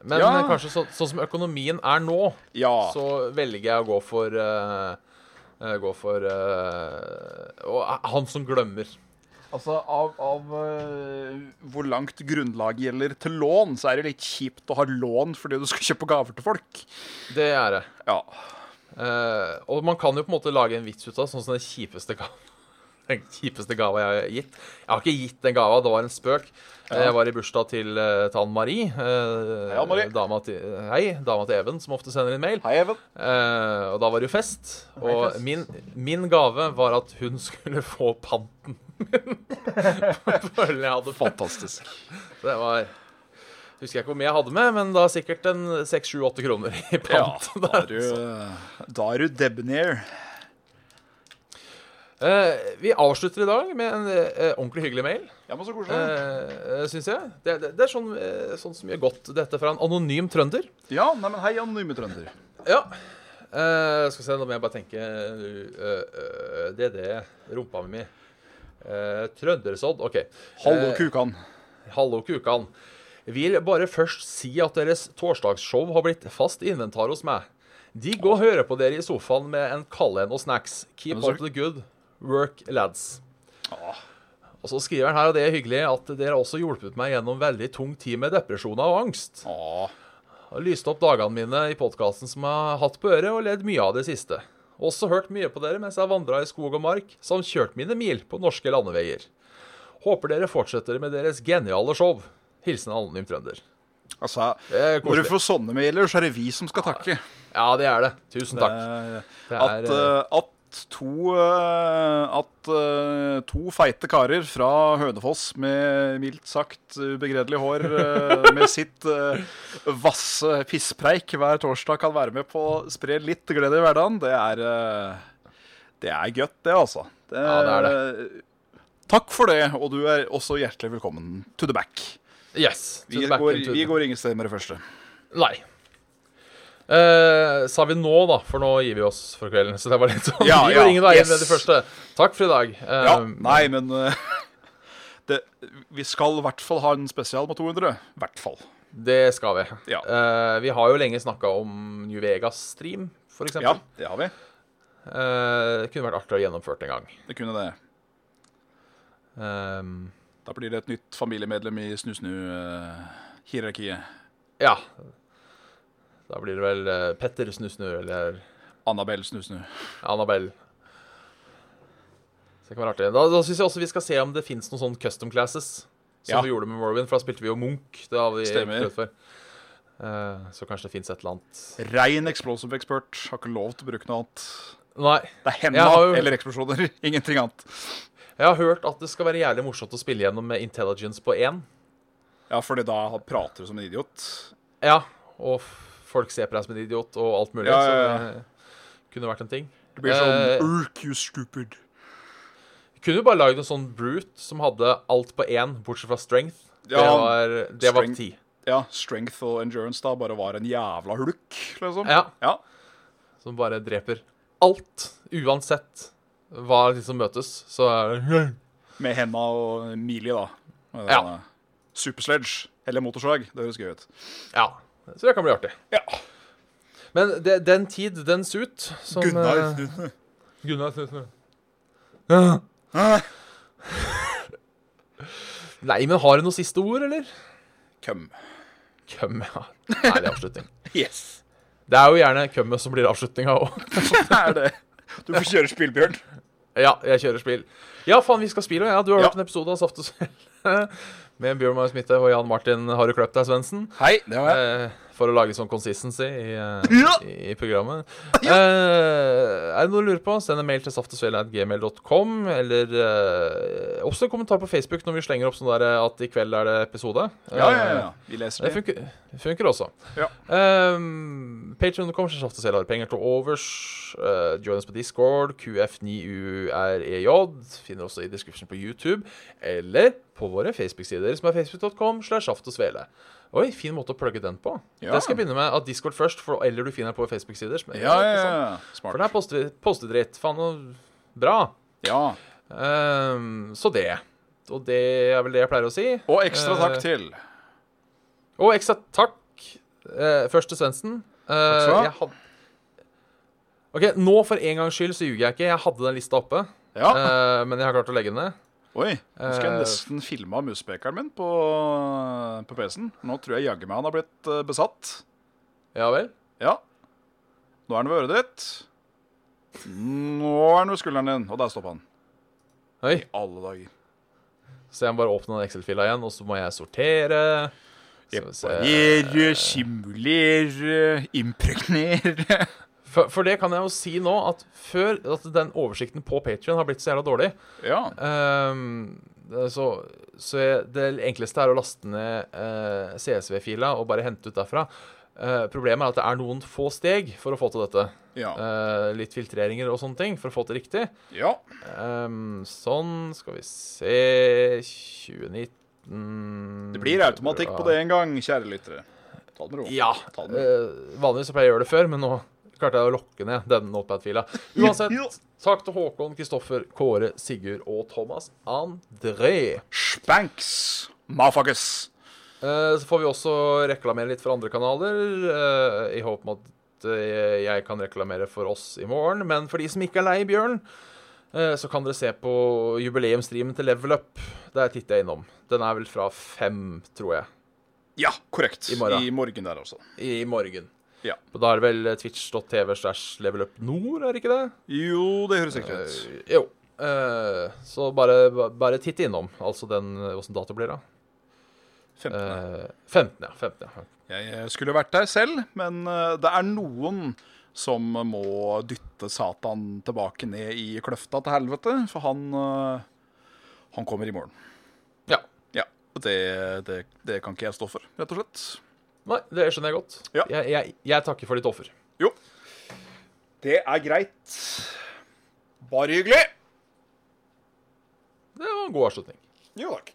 S2: Men
S3: Ja.
S2: eh, kanskje så, sånn som økonomien er nå,
S3: Ja.
S2: så velger jeg å gå for eh, eh, Gå for eh, Og eh, han som glemmer.
S3: Altså, av, av øh, hvor langt grunnlaget gjelder til lån, så er det litt kjipt å ha lån fordi du skal kjøpe gaver til folk.
S2: Det er det.
S3: Ja.
S2: Eh, og man kan jo på en måte lage en vits ut av sånn som den kjipeste ga- Den kjipeste gava jeg har gitt. Jeg har ikke gitt den gava, det var en spøk. Eh, Jeg var i bursdag til, eh, til Anne Marie. eh,
S3: Hei, Anne Marie.
S2: Dama til, hei, dama til Even, som ofte sender inn mail.
S3: Hei, Even.
S2: Eh, og da var det jo fest. Og
S3: fest.
S2: min, min gave var at hun skulle få panten min på ølen jeg hadde fått.
S3: Fantastisk.
S2: Det var Husker jeg ikke hvor mye jeg hadde med, men da sikkert en seks, sju, åtte kroner i pant.
S3: da er du, da er du debonair.
S2: Eh, vi avslutter i dag med en eh, ordentlig hyggelig mail,
S3: Ja, men så
S2: eh,
S3: koselig.
S2: eh, syns jeg. Det, det, det er sånn, eh, sånn som gjør godt. Dette fra en anonym trønder.
S3: Eh, Ja, nei, men hei, anonyme trønder.
S2: Ja. Eh, skal vi se, nå må jeg bare tenke eh, eh, Det er det rumpa mi. Uh, Trøndersodd. OK.
S3: Hallo,
S2: Eh,
S3: kukan.
S2: Hallo, kukan. Vil bare først si at deres torsdagsshow har blitt fast inventar hos meg. De går og hører på dere i sofaen med en kallen og snacks. Keep
S3: Men så- Ah.
S2: up the good work, lads.
S3: Åh.
S2: Og så skriver han her, og det er hyggelig, at dere har også hjulpet meg gjennom veldig tung tid med depresjoner og angst.
S3: Åh.
S2: Har lyst opp dagene mine i podkasten som jeg har hatt på øret, og ledd mye av det siste. Også hørt mye på dere mens jeg vandra i skog og mark, samt kjørt mine mil på norske landeveier. Håper dere fortsetter med deres geniale show. Hilsen anonym trønder.
S3: Altså,
S2: er
S3: når
S2: koselig.
S3: du får sånne mailer, så er det vi som skal takke.
S2: Ja, det er det. Tusen takk. Det er,
S3: At, eh, at to eh, At eh, to feite karer fra Hønefoss med mildt sagt ubegredelig hår eh, med sitt eh, vasse pisspreik hver torsdag kan være med på å spre litt glede i hverdagen, det er eh, Det er godt, det, altså. Det,
S2: Ja, det
S3: Takk for det, og du er også hjertelig velkommen to the back.
S2: Yes. to
S3: Vi
S2: the back
S3: går,
S2: into-
S3: vi går ingen steder med det første.
S2: Nei. Eh, sa vi nå, da, for nå gir vi oss for kvelden. Så det var litt sånn.
S3: Ja,
S2: vi
S3: ja,
S2: går ingen vei
S3: yes.
S2: med det første. Takk for i dag. Eh,
S3: Ja, nei, men eh, det, Vi skal i hvert fall ha en spesial med 200. I hvert fall.
S2: Det skal vi.
S3: Ja.
S2: Eh, vi har jo lenge snakka om New Vegas-stream, f.eks.
S3: Ja, det har vi.
S2: Eh, det kunne vært artig å gjennomføre det en gang.
S3: Det kunne det.
S2: Eh,
S3: Da blir det et nytt familiemedlem i snusnu-hierarkiet.
S2: Ja. Da blir det vel eh, Petter Snusnu eller
S3: Annabelle Snusnu.
S2: Annabelle. Så det kan være artig. Da, da syns jeg også vi skal se om det fins noen sånne custom classes. Som
S3: Ja.
S2: vi gjorde med Morrowind, for da spilte vi jo Munch. Det har vi
S3: Stemmer.
S2: prøvd før. Eh, så kanskje det fins et eller annet
S3: Rein explosive expert. Har ikke lov til å bruke noe annet.
S2: Nei.
S3: Det er
S2: Jeg
S3: henda
S2: har jo-
S3: eller eksplosjoner. Ingenting annet.
S2: Jeg har hørt at det skal være jævlig morsomt å spille gjennom med intelligence på én.
S3: Ja, fordi da prater du som en idiot.
S2: Ja, og f- folk ser på deg som en idiot og alt mulig.
S3: Ja, ja,
S2: Så det kunne vært en ting.
S3: Det blir sånn
S2: Eh,
S3: Urk, you stupid.
S2: Vi kunne jo bare lagd en sånn brute som hadde alt på én, bortsett fra strength. det
S3: Ja,
S2: var, det var
S3: strength.
S2: ti.
S3: Ja, strength og endurance da bare var en jævla hulk, liksom.
S2: Ja,
S3: Ja.
S2: som bare dreper alt, uansett hva de som møtes. Så er det
S3: Med henda og milie, da. Med
S2: Ja.
S3: denne Supersledge eller motorsag. Det høres gøy ut.
S2: Ja. Så det kan bli artig.
S3: Ja.
S2: Men det, den tid, den sut, som eh, Gunnar Snusnø. eh, Nei, men har du noe siste ord, eller?
S3: Køm.
S2: Køm, ja. Herlig avslutning.
S3: Yes.
S2: Det er jo gjerne kømmet som blir avslutninga òg.
S3: Det er det. Du får kjøre spillbjørn.
S2: Ja, jeg kjører spill. Ja, faen, vi skal spille, ja. Du har
S3: Ja.
S2: hørt en episode av Saft og Svele med Bjørn Magnus Mitte og Jan Martin Har du kløpt deg, Svendsen?
S3: Hei, det har jeg.
S2: Eh, For å lage sånn consistency i, eh,
S3: Ja.
S2: i, i programmet. Eh, er det noe du lurer på, send en mail til saftogsvele.gmail.com, eller eh, også en kommentar på Facebook når vi slenger opp sånn der eh, at i kveld er det episode.
S3: Ja, ja,
S2: Eh,
S3: ja. Vi leser
S2: Det
S3: det.
S2: funker, funker også.
S3: Ja.
S2: Um, Patreon.com slash Saft og Svele har penger til overs. Eh, join oss på Discord. QF9UREJ. E Finner også i description på YouTube. Eller på våre Facebook-sider, som er facebook.com slash Saft og Svele. Oi, fin måte å plugge den på.
S3: Ja.
S2: Det skal jeg begynne med at Discord først, for, eller du finner den på Facebook-sider. som er-
S3: Ja, ja,
S2: ikke
S3: ja.
S2: sant? Sånn. For der
S3: Smart.
S2: poster vi poster dritt. Faen, og bra.
S3: Ja.
S2: Ehm, så det. Og det er vel det jeg pleier å si.
S3: Og ekstra takk
S2: Eh,
S3: til
S2: Og ekstra takk eh, først til Svendsen. Eh,
S3: skal du ha.
S2: jeg had... OK, nå for en gangs skyld så ljuger jeg ikke. Jeg hadde den lista oppe,
S3: Ja.
S2: eh, men jeg har klart å legge den ned.
S3: Oi. Nå skal jeg
S2: eh,
S3: nesten filme av muspekeren min på, på PC-en. Nå tror jeg jaggu meg han har blitt eh, besatt.
S2: Ja vel?
S3: Ja. Nå er han ved øret ditt. Nå er han ved skulderen din. Og der stopper han.
S2: Oi.
S3: Alle dager.
S2: Så jeg må bare åpne den Excel-fila igjen, og så må jeg sortere. Skal vi se.
S3: Reparere, simulere, impregnere.
S2: For, for det kan jeg jo si nå, at før at den oversikten på Patrion har blitt så jævla dårlig,
S3: Ja.
S2: Ehm, det- så, så jeg, det enkleste er å laste ned eh, CSV-fila og bare hente ut derfra. Eh, problemet er at det er noen få steg for å få til dette.
S3: Ja.
S2: Eh, litt filtreringer og sånne ting for å få til riktig.
S3: ja.
S2: Ehm, sånn, skal vi se 2019
S3: Det blir automatikk på det en gang, kjære lyttere. Ta det med ro.
S2: Ja.
S3: Ta det med.
S2: eh, vanligvis så pleier jeg å gjøre det før, men nå klarte jeg å lokke ned denne notepad-fila.
S3: Ja.
S2: Uansett, takk til Håkon, Kristoffer, Kåre, Sigurd og Thomas André.
S3: Spanks. Motherfuckers.
S2: Eh, Så får vi også reklamere litt for andre kanaler, eh, i håp om at eh, jeg kan reklamere for oss i morgen. Men for de som ikke er lei Bjørn, eh, så kan dere se på jubileumsstreamen til Level Up. Der titter jeg innom. Den er vel fra fem, tror jeg,
S3: Ja, korrekt.
S2: I morgen.
S3: I morgen der altså. også.
S2: i morgen.
S3: Ja.
S2: Og da er det vel eh, twitch.tv slash levelupnord, er det ikke det?
S3: Jo, det høres riktig ut.
S2: Eh, jo. Eh, så bare, bare titt innom. Altså den Åssen dato blir det?
S3: 15.
S2: Uh, 15, ja. 15, ja.
S3: Jeg eh, skulle vært der selv, men eh, det er noen som må dytte Satan tilbake ned i kløfta til helvete, for han eh, Han kommer i morgen.
S2: ja.
S3: Ja. Det, det, det kan ikke jeg stå for, rett og slett.
S2: Nei, det skjønner jeg godt.
S3: Ja.
S2: Jeg, jeg, jeg takker for ditt offer.
S3: Jo. Det er greit. Bare hyggelig.
S2: Det var en god avslutning.
S3: Jo takk.